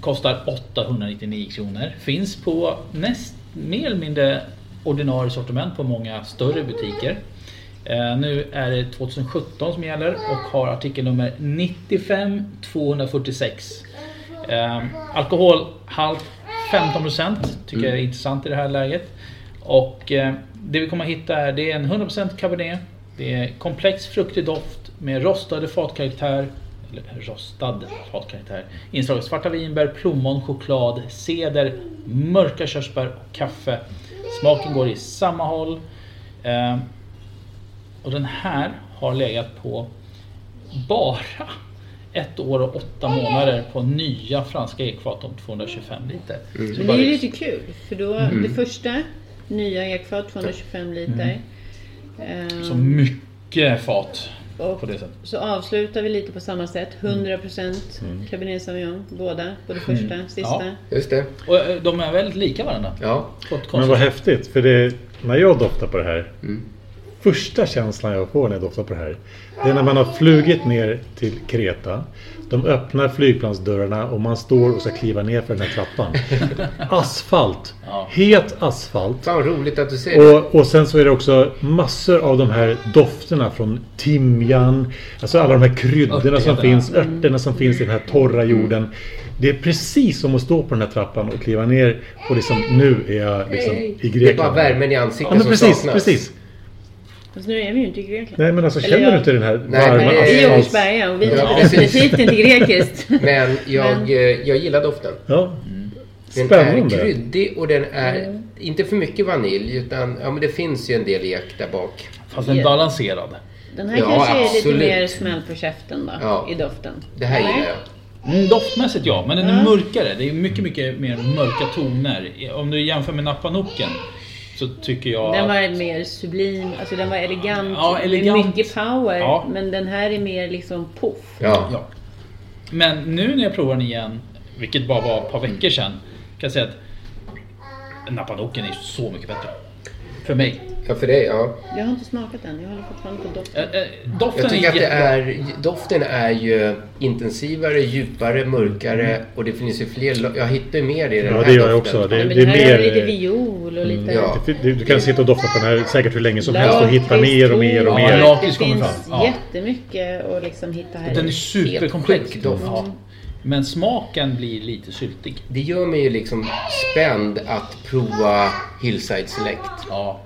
[SPEAKER 5] kostar 899 kronor. Finns på näst, mer eller mindre ordinarie sortiment på många större butiker. Eh, nu är det 2017 som gäller och har artikelnummer 95246. Eh, alkoholhalt 15% tycker jag är intressant i det här läget. Och eh, det vi kommer att hitta är, det är en 100% cabernet. Det är komplex fruktig doft med rostade fatkaraktär, eller rostad fatkaraktär, inslag av svarta vinbär, plommon, choklad, ceder, mörka körsbär och kaffe. Smaken går i samma håll. Eh, och den här har legat på bara *laughs* ett år och åtta månader på nya franska ekfat om 225 liter. Så
[SPEAKER 3] Men Mm. det
[SPEAKER 5] bara-
[SPEAKER 3] är ju lite kul för då
[SPEAKER 5] Mm.
[SPEAKER 3] det första nya ekfat
[SPEAKER 9] Mm.
[SPEAKER 3] 225 liter. Eh,
[SPEAKER 5] Så mycket fat
[SPEAKER 3] Och-
[SPEAKER 5] på det sättet.
[SPEAKER 3] Så avslutar vi lite på samma sätt. 100%
[SPEAKER 5] Mm.
[SPEAKER 3] Cabernet Sauvignon, båda. Både första,
[SPEAKER 5] Mm.
[SPEAKER 3] sista.
[SPEAKER 6] Just det.
[SPEAKER 5] Och eh, de är väldigt lika varandra.
[SPEAKER 6] Ja.
[SPEAKER 9] Men vad häftigt, för det, när jag doftar på det här.
[SPEAKER 6] Mm.
[SPEAKER 9] Första känslan jag får när jag doftar på det här. Det är när man har flugit ner till Kreta. De öppnar flygplansdörrarna och man står och ska kliva ner för den här trappan.
[SPEAKER 6] *laughs*
[SPEAKER 9] Asfalt. Het asfalt.
[SPEAKER 6] Fan vad roligt att du säger det.
[SPEAKER 9] Och, och sen så är det också massor av de här dofterna från timjan. Alltså alla de här kryddorna som
[SPEAKER 5] Örterna.
[SPEAKER 9] finns.
[SPEAKER 6] Mm.
[SPEAKER 9] Örterna som finns i den här torra jorden. Det är precis som att stå på den här trappan och kliva ner och liksom nu är jag liksom i
[SPEAKER 3] Hej.
[SPEAKER 9] Grekland.
[SPEAKER 6] Det är bara värmen i ansiktet
[SPEAKER 9] ja, men
[SPEAKER 6] som
[SPEAKER 9] precis,
[SPEAKER 6] saknas.
[SPEAKER 9] precis.
[SPEAKER 3] Fast nu är vi ju inte i Grekland.
[SPEAKER 9] Nej men alltså
[SPEAKER 3] Eller
[SPEAKER 9] känner
[SPEAKER 3] ja,
[SPEAKER 9] du inte Alltså- den här
[SPEAKER 6] Nej, men
[SPEAKER 9] varma
[SPEAKER 6] det är-
[SPEAKER 3] Det är
[SPEAKER 9] asfalt-
[SPEAKER 3] Åkersberga och vi
[SPEAKER 6] Ja,
[SPEAKER 3] är
[SPEAKER 6] precis.
[SPEAKER 3] definitivt inte
[SPEAKER 9] *laughs*
[SPEAKER 3] grekiskt.
[SPEAKER 6] Men jag, eh, jag gillar doften.
[SPEAKER 9] Ja.
[SPEAKER 6] Den
[SPEAKER 9] Spännande.
[SPEAKER 6] är kryddig och den är inte för mycket vanilj utan ja, men det finns ju en del ek där bak.
[SPEAKER 5] Fast den balanserad.
[SPEAKER 3] Den här
[SPEAKER 6] Ja,
[SPEAKER 3] kanske är
[SPEAKER 6] absolut.
[SPEAKER 3] lite mer smäll på käften då,
[SPEAKER 6] Ja.
[SPEAKER 3] i doften.
[SPEAKER 6] Det här gillar
[SPEAKER 3] Nej.
[SPEAKER 6] jag.
[SPEAKER 5] Mm, doftmässigt ja, men den är
[SPEAKER 3] Ja.
[SPEAKER 5] mörkare. Det är mycket, mycket mer mörka toner. Om du jämför med Napanoken så tycker jag...
[SPEAKER 3] Den
[SPEAKER 5] att-
[SPEAKER 3] var mer sublim, alltså den var elegant.
[SPEAKER 5] Ja,
[SPEAKER 3] Det är
[SPEAKER 5] elegant.
[SPEAKER 3] mycket power.
[SPEAKER 5] Ja.
[SPEAKER 3] Men den här är mer liksom poff.
[SPEAKER 6] Ja.
[SPEAKER 5] Men nu när jag provar den igen, vilket bara var ett par veckor sedan, kan jag säga att Napanoken är så mycket bättre. För mig.
[SPEAKER 6] Ja, för dig ja.
[SPEAKER 3] Jag har inte smakat den, jag håller fortfarande på doften.
[SPEAKER 5] Eh, Äh, doften
[SPEAKER 6] jag tycker
[SPEAKER 5] är
[SPEAKER 6] att det
[SPEAKER 5] jättebra.
[SPEAKER 6] är, doften är ju intensivare, djupare, mörkare och det finns ju fler. lo- Jag hittar ju mer i den
[SPEAKER 9] Ja,
[SPEAKER 6] här
[SPEAKER 9] det gör jag
[SPEAKER 6] doften.
[SPEAKER 9] också. Det,
[SPEAKER 3] Ja,
[SPEAKER 9] det,
[SPEAKER 3] men
[SPEAKER 9] är
[SPEAKER 3] det här är
[SPEAKER 9] mer... eh, mm.
[SPEAKER 3] lite viol och lite...
[SPEAKER 9] Ja. Du, du- du kan sitta och dofta på den här säkert hur länge som
[SPEAKER 3] Lakrits,
[SPEAKER 9] helst och hitta mer och mer och
[SPEAKER 5] Ja,
[SPEAKER 9] mer.
[SPEAKER 5] lakrits
[SPEAKER 3] Det
[SPEAKER 5] kommer
[SPEAKER 3] finns
[SPEAKER 5] fram. Ja.
[SPEAKER 3] jättemycket att liksom hitta här.
[SPEAKER 5] Den
[SPEAKER 3] i.
[SPEAKER 5] är superkomplex.
[SPEAKER 6] sjuk doft.
[SPEAKER 5] Ja. Men smaken blir lite syltig.
[SPEAKER 6] Det gör mig ju liksom spänd att prova Hillside Select.
[SPEAKER 5] Ja.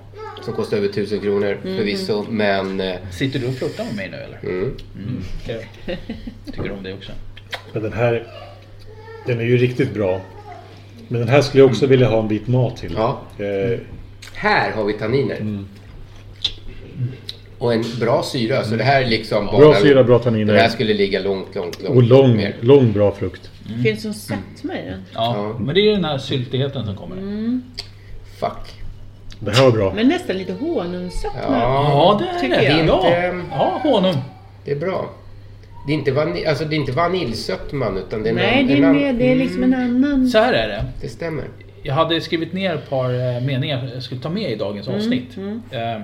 [SPEAKER 6] Som kostar över 1000 kronor
[SPEAKER 5] Mhm.
[SPEAKER 6] förvisso, men... eh,
[SPEAKER 5] Sitter du och flörtar med mig nu eller?
[SPEAKER 6] Mm.
[SPEAKER 5] Mm. *laughs* okej. Tycker du om det också?
[SPEAKER 9] Men den här... Den är ju riktigt bra. Men den här skulle jag också vilja ha en bit mat till.
[SPEAKER 6] Ja.
[SPEAKER 9] Eh, Mm.
[SPEAKER 6] Här har vi tanniner. Och en bra syra, så det här är liksom
[SPEAKER 9] Bra syra, bra tanniner.
[SPEAKER 6] Det här skulle ligga långt, långt, långt.
[SPEAKER 9] och lång,
[SPEAKER 6] ner.
[SPEAKER 9] lång bra frukt.
[SPEAKER 3] Det finns som sötma i den.
[SPEAKER 5] Ja, men det är ju den här syltigheten som kommer.
[SPEAKER 3] Mm.
[SPEAKER 6] Fuck.
[SPEAKER 9] Det här var bra.
[SPEAKER 3] Men nästan lite honungssötma.
[SPEAKER 5] Ja, det är
[SPEAKER 3] tycker
[SPEAKER 5] det.
[SPEAKER 3] jag.
[SPEAKER 6] är
[SPEAKER 5] Ja.
[SPEAKER 6] inte-
[SPEAKER 5] ja, honung.
[SPEAKER 6] Det är bra. Det är inte, vanil, alltså det är inte vaniljsötman utan det är Mm.
[SPEAKER 3] Nej,
[SPEAKER 6] en,
[SPEAKER 3] det
[SPEAKER 6] en
[SPEAKER 3] är,
[SPEAKER 6] annan-
[SPEAKER 3] mer, det är liksom en annan...
[SPEAKER 5] Så här är det.
[SPEAKER 6] Det stämmer.
[SPEAKER 5] Jag hade skrivit ner ett par eh, meningar jag skulle ta med i dagens
[SPEAKER 3] Mm,
[SPEAKER 5] avsnitt.
[SPEAKER 3] mm.
[SPEAKER 5] Eh,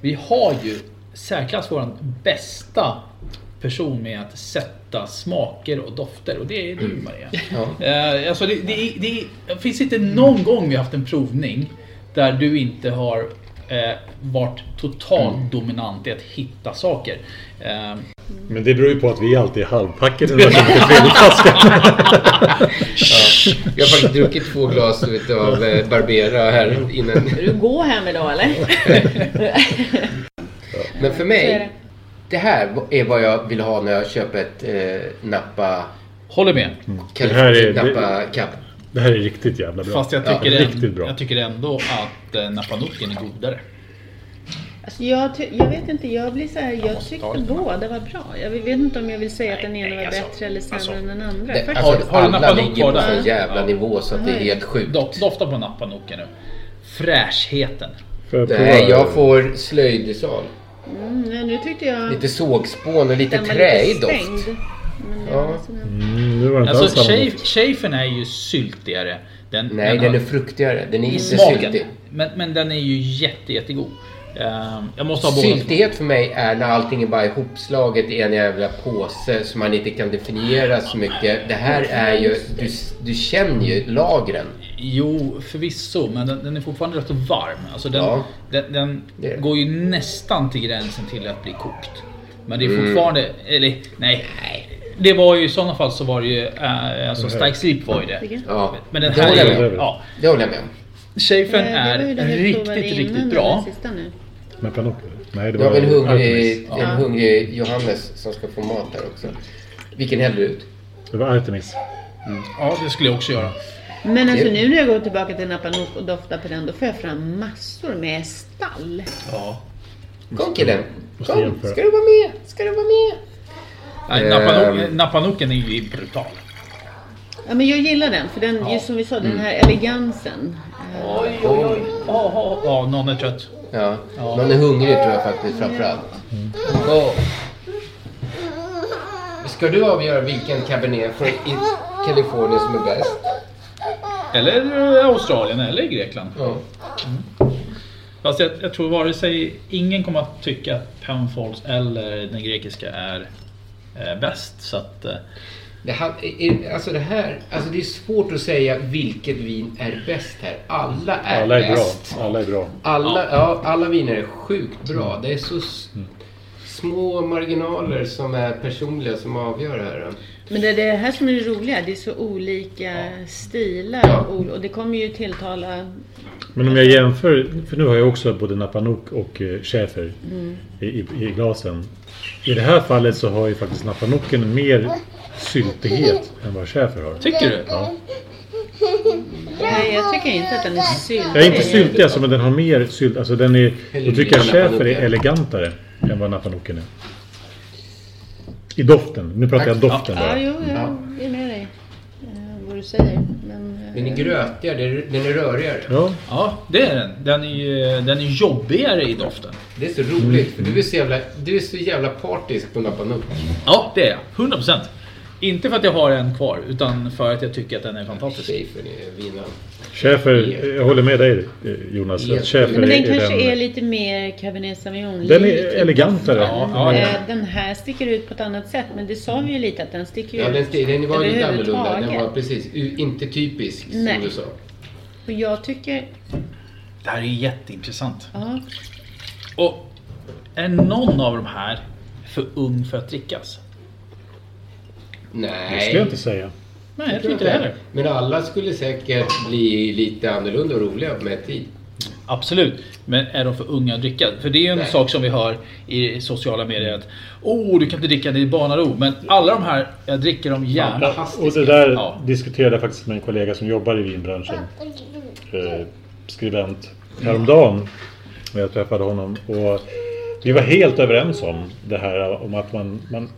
[SPEAKER 5] Vi har ju särklass vår bästa person med att sätta smaker och dofter och det är
[SPEAKER 3] Mm.
[SPEAKER 5] du Maria. Eh, Alltså
[SPEAKER 3] Mm.
[SPEAKER 5] det, det, det, det finns inte någon gång vi har haft en provning där du inte har eh, varit totalt
[SPEAKER 3] Mm.
[SPEAKER 5] dominant i att hitta saker. Eh,
[SPEAKER 9] Men det beror ju på att vi alltid är halvpackade när det kommer till felflaskan.
[SPEAKER 6] Jag har faktiskt druckit två glas du vet, av eh, Barbera här
[SPEAKER 3] *laughs*
[SPEAKER 6] innan.
[SPEAKER 3] Ska du gå hem idag eller?
[SPEAKER 6] Men
[SPEAKER 3] Så *laughs*
[SPEAKER 6] för
[SPEAKER 3] är det.
[SPEAKER 6] mig, det här är vad jag vill ha när jag köper ett eh, Nappa...
[SPEAKER 5] Håller med.
[SPEAKER 6] Kan
[SPEAKER 9] Det här är-
[SPEAKER 6] Nappa Cup.
[SPEAKER 9] Mm, Det här är riktigt jävla bra.
[SPEAKER 5] Fast jag tycker,
[SPEAKER 9] ja,
[SPEAKER 5] ändå,
[SPEAKER 9] riktigt bra.
[SPEAKER 5] jag tycker ändå att eh, Napanuken är godare.
[SPEAKER 3] Alltså jag, ty- jag vet inte, jag blir så här, jag tyckte
[SPEAKER 5] ta det.
[SPEAKER 3] båda var bra. Jag vet inte om jag vill säga att den ena var bättre eller sämre än den andra.
[SPEAKER 6] alltså, Det,
[SPEAKER 3] Faktiskt.
[SPEAKER 6] alltså,
[SPEAKER 5] har du
[SPEAKER 6] alla
[SPEAKER 5] nappat upp
[SPEAKER 6] ligger
[SPEAKER 5] kvar
[SPEAKER 6] på
[SPEAKER 5] där?
[SPEAKER 6] en jävla nivå så att det är
[SPEAKER 3] Nej.
[SPEAKER 6] helt sjukt.
[SPEAKER 5] Do, dofta på Napanuken nu. Fräschheten.
[SPEAKER 6] Nej, jag får slöjdsal.
[SPEAKER 3] Mm, nej, nu tyckte jag
[SPEAKER 6] Lite sågspån och lite
[SPEAKER 3] den var lite
[SPEAKER 6] träig doft.
[SPEAKER 3] stängd. Men det var
[SPEAKER 6] Ja.
[SPEAKER 3] liksom-
[SPEAKER 9] Mm, nu var det inte alls
[SPEAKER 5] Alltså,
[SPEAKER 9] samma doft.
[SPEAKER 5] schäf- schäfern är ju syltigare. Den,
[SPEAKER 6] Nej, den
[SPEAKER 5] har-
[SPEAKER 6] är fruktigare. Den är
[SPEAKER 5] i
[SPEAKER 6] inte
[SPEAKER 5] smaken.
[SPEAKER 6] syltig.
[SPEAKER 5] Men, men den är ju jätte, jättegod. Ehm, jag måste ha båda.
[SPEAKER 6] Syltighet för mig är när allting är bara ihopslaget i en jävla påse som man inte kan definiera så mycket. Det här är ju... Du, du känner ju lagren.
[SPEAKER 5] Jo, förvisso. Men den, den är fortfarande rätt så varm. Alltså den
[SPEAKER 6] Ja.
[SPEAKER 5] den, den
[SPEAKER 6] Det är det.
[SPEAKER 5] går ju nästan till gränsen till att bli kokt. Men det är
[SPEAKER 6] Mm.
[SPEAKER 5] fortfarande... Eller nej. Det var ju i sådana fall så var det ju... eh, alltså
[SPEAKER 6] Mhm.
[SPEAKER 5] Stark Sleep var ju det.
[SPEAKER 6] Ja,
[SPEAKER 5] Men den
[SPEAKER 6] det
[SPEAKER 5] här...
[SPEAKER 6] håller
[SPEAKER 5] är
[SPEAKER 6] jag med
[SPEAKER 5] ju-
[SPEAKER 6] om.
[SPEAKER 5] Ja.
[SPEAKER 6] Det håller jag med om.
[SPEAKER 5] Schäfern
[SPEAKER 3] Eh, det var ju
[SPEAKER 5] är
[SPEAKER 3] den vi provade
[SPEAKER 5] riktigt,
[SPEAKER 3] innan
[SPEAKER 5] riktigt
[SPEAKER 3] den
[SPEAKER 5] bra.
[SPEAKER 3] sista nu.
[SPEAKER 9] Men Panoply? Nej, det
[SPEAKER 6] Nu har
[SPEAKER 9] var
[SPEAKER 6] vi en hungrig,
[SPEAKER 9] Artemis.
[SPEAKER 6] en hungrig Johannes som ska få mat här också. Vilken häller du ut?
[SPEAKER 9] Det var Artemis.
[SPEAKER 5] Ja, det skulle jag också göra.
[SPEAKER 3] Men alltså
[SPEAKER 6] Det-
[SPEAKER 3] nu när jag går tillbaka till Napanuk och doftar på den, då får jag fram massor med stall.
[SPEAKER 5] Ja.
[SPEAKER 6] Kom killen!
[SPEAKER 5] Måste
[SPEAKER 6] Kom!
[SPEAKER 5] jämföra.
[SPEAKER 6] Ska du vara med? Ska du vara med?
[SPEAKER 5] Nej,
[SPEAKER 6] Ehm.
[SPEAKER 5] Napanoken, Napanoken är ju brutal.
[SPEAKER 3] Ja, men jag gillar den, för den, just som vi sa,
[SPEAKER 6] Mm.
[SPEAKER 3] den här elegansen.
[SPEAKER 5] Oj, oj, oj. Ja, någon är trött.
[SPEAKER 6] Ja, någon är hungrig tror jag faktiskt framförallt.
[SPEAKER 5] Mm.
[SPEAKER 6] Oh. Ska du avgöra vilken cabernet från i Kalifornien som är bäst?
[SPEAKER 5] Eller eh, Australien eller Grekland.
[SPEAKER 6] Ja.
[SPEAKER 5] Fast jag, jag tror vare sig ingen kommer att tycka att Penfolds eller den grekiska är eh, bäst. Så att, eh,
[SPEAKER 6] Det här, är- alltså det här, alltså det är svårt att säga vilket vin är bäst här. Alla är,
[SPEAKER 9] Alla är bra.
[SPEAKER 6] bäst.
[SPEAKER 9] Alla är bra. Mm.
[SPEAKER 6] Alla, ja, alla viner är sjukt bra. Det är så s- små marginaler som är personliga som avgör det här.
[SPEAKER 3] Men det är det här som är det roliga, det är så olika stilar och ol- och det kommer ju tilltala...
[SPEAKER 9] Men om jag jämför, för nu har jag också både Napanuk och eh, Schäfer
[SPEAKER 3] Mm.
[SPEAKER 9] i, i, i glasen. I det här fallet så har ju faktiskt Napanuken mer syltighet än vad Schäfer har.
[SPEAKER 5] Tycker du?
[SPEAKER 9] Ja.
[SPEAKER 3] Nej, jag tycker inte att den är syltig.
[SPEAKER 9] Jag är inte syltig alltså, men den har mer sylt. Alltså den är... Då tycker jag
[SPEAKER 6] Eller
[SPEAKER 9] Schäfer är
[SPEAKER 6] Napanuken.
[SPEAKER 9] elegantare än vad Napanuken är. I doften. Nu pratar jag doften
[SPEAKER 3] Ja,
[SPEAKER 9] bara.
[SPEAKER 3] jo, jag är med dig. eh, Vad du säger. Men, eh,
[SPEAKER 6] Den är grötigare, den är rörigare.
[SPEAKER 9] Ja.
[SPEAKER 5] ja, det är den. Den är, ju- den är jobbigare i doften.
[SPEAKER 6] Det är så roligt,
[SPEAKER 9] Mm.
[SPEAKER 6] för du är så jävla, du är så jävla partisk på Napanuk.
[SPEAKER 5] Ja, det är jag. 100%. Inte för att jag har en kvar, utan för att jag tycker att den är fantastisk.
[SPEAKER 6] Schäfer är vinnaren.
[SPEAKER 9] Schäfer, jag håller med dig eh, Jonas.
[SPEAKER 6] Ja.
[SPEAKER 9] Att Schäfer
[SPEAKER 3] Men den
[SPEAKER 9] är,
[SPEAKER 3] kanske
[SPEAKER 9] är
[SPEAKER 3] är
[SPEAKER 9] den...
[SPEAKER 3] lite mer Cabernet sauvignon
[SPEAKER 9] Den är elegantare. Ja, ja.
[SPEAKER 3] Eh, Den här sticker ut på ett annat sätt, men det sa vi ju lite att den sticker
[SPEAKER 6] Ja,
[SPEAKER 3] ut
[SPEAKER 6] den, den var lite annorlunda. Den
[SPEAKER 3] överhuvudtaget.
[SPEAKER 6] var precis, u- inte typisk
[SPEAKER 3] Nej.
[SPEAKER 6] som du sa.
[SPEAKER 3] Och jag tycker...
[SPEAKER 5] Det här är jätteintressant.
[SPEAKER 3] Ja,
[SPEAKER 5] Och är någon av de här för ung för att drickas?
[SPEAKER 6] Nej.
[SPEAKER 9] Det skulle jag inte säga.
[SPEAKER 5] Nej, jag tror inte det heller.
[SPEAKER 6] Men alla skulle säkert bli lite annorlunda och roliga med tid.
[SPEAKER 5] Absolut, men är de för unga att dricka? För det är ju en
[SPEAKER 6] Nej.
[SPEAKER 5] sak som vi hör i sociala medier att Åh, du kan inte dricka, det är barnaro. Men alla de här, jag dricker dem gärna.
[SPEAKER 9] Och det där
[SPEAKER 5] Ja.
[SPEAKER 9] diskuterade jag faktiskt med en kollega som jobbar i vinbranschen. Eh, skribent. Häromdagen. När jag träffade honom. Och vi var helt överens om det här om att man, man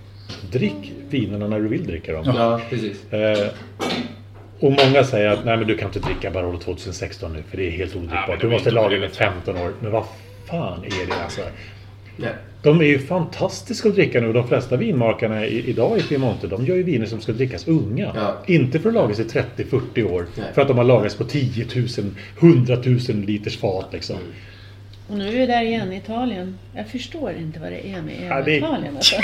[SPEAKER 9] drick vinerna när du vill dricka dem.
[SPEAKER 6] Ja, precis.
[SPEAKER 9] Eh, och många säger att nej men du kan inte dricka Barolo 2016 nu för det är helt odrickbart. du måste lagra den i 15 år. Men vad fan är det alltså?
[SPEAKER 6] Nej.
[SPEAKER 9] De är ju fantastiska att dricka nu och de flesta vinmakarna i, idag i Piemonte de gör ju viner som ska drickas unga. Inte för att lagras i 30-40 år.
[SPEAKER 6] Nej.
[SPEAKER 9] För att de har lagrats på 10 000, 100 000 liters fat liksom.
[SPEAKER 3] och nu är vi där igen, Italien. Jag förstår inte vad det är med
[SPEAKER 9] Ja, det-
[SPEAKER 3] Italien alltså.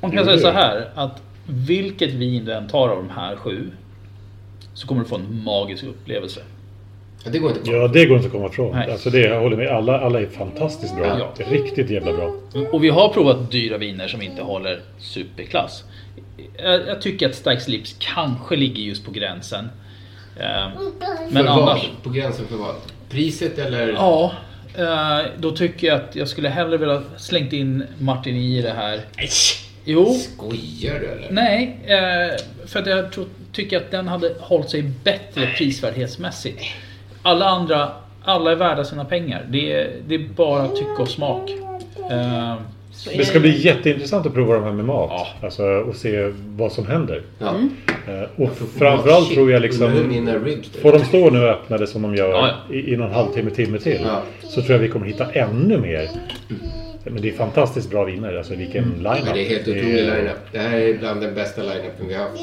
[SPEAKER 5] Man kan säga så här att vilket vin du än tar av de här sju så kommer du få en magisk upplevelse.
[SPEAKER 6] det går inte att
[SPEAKER 9] Ja, det går inte att komma ifrån. Alltså det, jag håller med. Alla, alla är fantastiskt bra.
[SPEAKER 5] Ja. Mm.
[SPEAKER 9] Det är riktigt jävla bra.
[SPEAKER 5] Och vi har provat dyra viner som inte håller superklass. Jag, jag tycker att Stark Slips kanske ligger just på gränsen. Ehm, Men
[SPEAKER 6] för
[SPEAKER 5] annars...
[SPEAKER 6] Vad? På gränsen för vad? Priset eller?
[SPEAKER 5] Ja, eh, då tycker jag att jag skulle hellre vilja slängt in Martin i det här. Nej! Jo.
[SPEAKER 6] Skojar du eller?
[SPEAKER 5] Nej, eh, för att jag tror, tycker att den hade hållit sig bättre prisvärdhetsmässigt. Alla andra, alla är värda sina pengar. Det är, det är bara tycke och smak. Eh,
[SPEAKER 9] Det ska bli jätteintressant att prova de här med mat. Alltså, och se vad som händer.
[SPEAKER 5] Mm.
[SPEAKER 9] Eh, Och framförallt
[SPEAKER 6] shit,
[SPEAKER 9] tror jag
[SPEAKER 6] undrar hur
[SPEAKER 9] liksom...
[SPEAKER 6] mina ribs där.
[SPEAKER 9] Får de stå nu och öppna det som de gör
[SPEAKER 6] Ja,
[SPEAKER 9] i, i någon halvtimme, timme till. Så tror jag vi kommer hitta ännu mer. Men det är fantastiskt bra viner. Alltså vilken
[SPEAKER 5] Mm.
[SPEAKER 9] line-up.
[SPEAKER 6] Ja, det är helt otrolig line-up. Det här är bland den bästa line-upen vi har haft.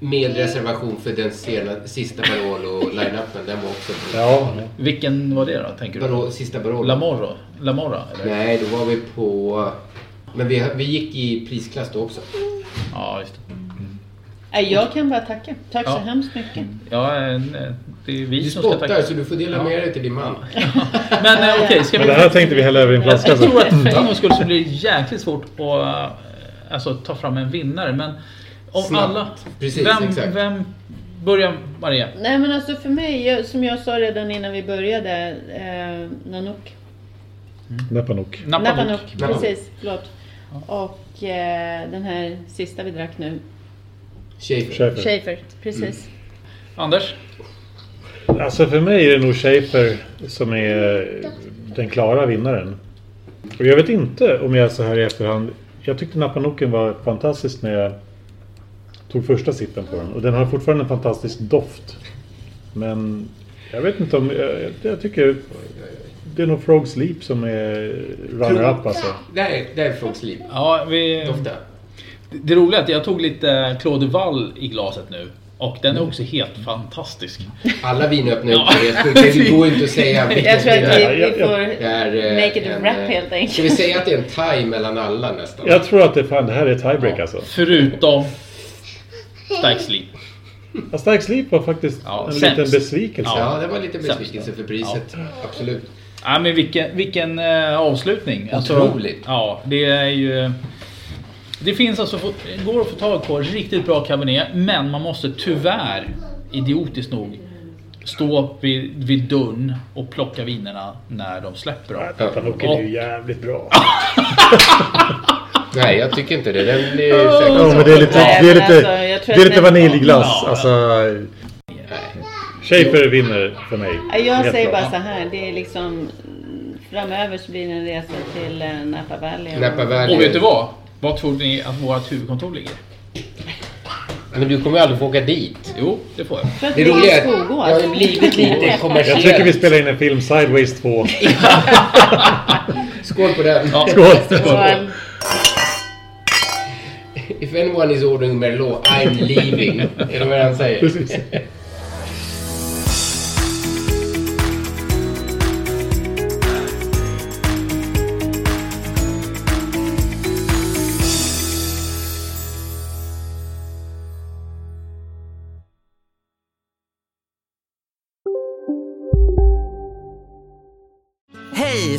[SPEAKER 6] Med reservation för den sena, sista Barolo-line-upen. Den var också bra.
[SPEAKER 9] Ja.
[SPEAKER 5] Vilken var det då, tänker du?
[SPEAKER 6] Barolo, sista Barolo.
[SPEAKER 5] Lamorro? Lamorra? Eller?
[SPEAKER 6] Nej, då var vi på... Men vi, vi gick i prisklass då också.
[SPEAKER 5] Ja, just det.
[SPEAKER 3] Nej, Jag kan bara tacka. Tack
[SPEAKER 5] Ja.
[SPEAKER 3] så hemskt mycket.
[SPEAKER 5] Ja, eh, nej, det är vi
[SPEAKER 6] Du
[SPEAKER 5] som ska
[SPEAKER 6] spottar
[SPEAKER 5] tacka.
[SPEAKER 6] så du får dela med dig till din man.
[SPEAKER 5] Men eh, okej, ska vi...
[SPEAKER 9] Men det här tänkte vi hälla över i en flaska
[SPEAKER 5] Jag
[SPEAKER 9] sen.
[SPEAKER 5] tror att för en
[SPEAKER 9] Mm.
[SPEAKER 5] gångs skull så blir det jäkligt svårt att eh, alltså, ta fram en vinnare. Men om
[SPEAKER 6] Snabbt.
[SPEAKER 5] alla...
[SPEAKER 6] Precis,
[SPEAKER 5] vem,
[SPEAKER 6] exakt.
[SPEAKER 5] vem börjar Maria?
[SPEAKER 3] Nej men alltså för mig, jag- som jag sa redan innan vi började, eh, Nanook.
[SPEAKER 9] Näppanok.
[SPEAKER 3] Nanook, precis. Förlåt. Och eh, den här sista vi drack nu,
[SPEAKER 9] Schäfer.
[SPEAKER 3] Schaefer. Precis.
[SPEAKER 9] Mm.
[SPEAKER 5] Anders?
[SPEAKER 9] Alltså för mig är det nog Schaefer som är den klara vinnaren. Och jag vet inte om jag så här i efterhand... Jag tyckte Napanoken var fantastisk när jag tog första sippen på den. Och den har fortfarande en fantastisk doft. Men jag vet inte om... Jag, jag tycker... Det är nog Frog Sleep som är runner-up alltså.
[SPEAKER 6] Nej, det är folks liv.
[SPEAKER 5] Ja, vi... Det- Det roliga är att jag tog lite Claude Wall i glaset nu. Och den är också helt fantastisk.
[SPEAKER 6] Alla vinöppnare upplever det. Det går inte att säga
[SPEAKER 3] *laughs*
[SPEAKER 6] vilken
[SPEAKER 3] Jag tror att
[SPEAKER 6] som är-
[SPEAKER 3] vi, vi får
[SPEAKER 6] Det är, eh,
[SPEAKER 3] make it a
[SPEAKER 6] en,
[SPEAKER 3] wrap
[SPEAKER 6] eh,
[SPEAKER 3] helt enkelt.
[SPEAKER 6] Ska vi säga att det är en tie mellan alla nästan?
[SPEAKER 9] Jag tror att det, fan, det här är tiebreak alltså.
[SPEAKER 5] Förutom Stark Sleep.
[SPEAKER 9] Ja, Stark Sleep var faktiskt en
[SPEAKER 5] sämst.
[SPEAKER 9] liten besvikelse.
[SPEAKER 6] Ja, det var lite besvikelse
[SPEAKER 5] Sämst.
[SPEAKER 6] för priset. Absolut.
[SPEAKER 5] Ja, men vilken, vilken eh, avslutning. Alltså,
[SPEAKER 6] Otroligt.
[SPEAKER 5] ja, det är ju... Det finns alltså, få- går att få tag på riktigt bra cabernet, men man måste tyvärr, idiotiskt nog, stå vid, vid dörren och plocka vinerna när de släpper dem.
[SPEAKER 9] Napanoken är ju jävligt bra.
[SPEAKER 6] *laughs* Nej, jag tycker inte det. Den blir säkert...
[SPEAKER 9] Ja, men det är lite,
[SPEAKER 6] Nej,
[SPEAKER 9] det är
[SPEAKER 6] men
[SPEAKER 9] lite,
[SPEAKER 6] alltså, jag tror
[SPEAKER 9] det är
[SPEAKER 6] att
[SPEAKER 9] lite
[SPEAKER 6] den-
[SPEAKER 9] vaniljglass.
[SPEAKER 6] Ja.
[SPEAKER 9] Alltså, Schaefer vinner för mig.
[SPEAKER 3] Ja, Jag
[SPEAKER 9] Helt
[SPEAKER 3] säger
[SPEAKER 9] klart.
[SPEAKER 3] bara så här, det är liksom mm, framöver så blir det en resa till eh, Napa Valley.
[SPEAKER 5] Och vet du vad? Vad tror ni att vårt huvudkontor ligger?
[SPEAKER 6] Men du kommer ju aldrig få åka dit.
[SPEAKER 5] Jo, det får jag.
[SPEAKER 3] För att Det vi har roliga är att skogor. det har blivit lite
[SPEAKER 9] Jag
[SPEAKER 6] kommersiellt.
[SPEAKER 9] tycker vi spelar in en film, Sideways
[SPEAKER 6] *laughs*
[SPEAKER 9] 2.
[SPEAKER 6] Skål på den.
[SPEAKER 9] Ja. Skål.
[SPEAKER 3] eh,
[SPEAKER 9] Skål.
[SPEAKER 6] If anyone is ordering Merlot, I'm leaving. är det vad han säger?
[SPEAKER 9] Precis.
[SPEAKER 2] Hej,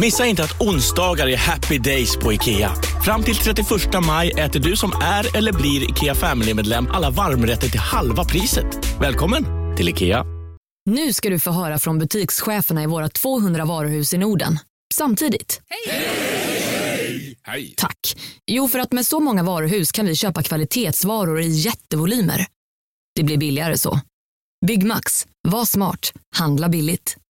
[SPEAKER 12] Missa inte att onsdagar är happy days på IKEA. Fram till 31 maj äter du som är eller blir IKEA Family-medlem alla varmrätter till halva priset. Välkommen till IKEA.
[SPEAKER 7] Nu ska du få höra från butikscheferna i våra 200 varuhus i Norden. Samtidigt.
[SPEAKER 13] Hej!
[SPEAKER 7] Tack. Jo, för att med så många varuhus kan vi köpa kvalitetsvaror i jättevolymer. Det blir billigare så. Byggmax. Var smart. Handla billigt.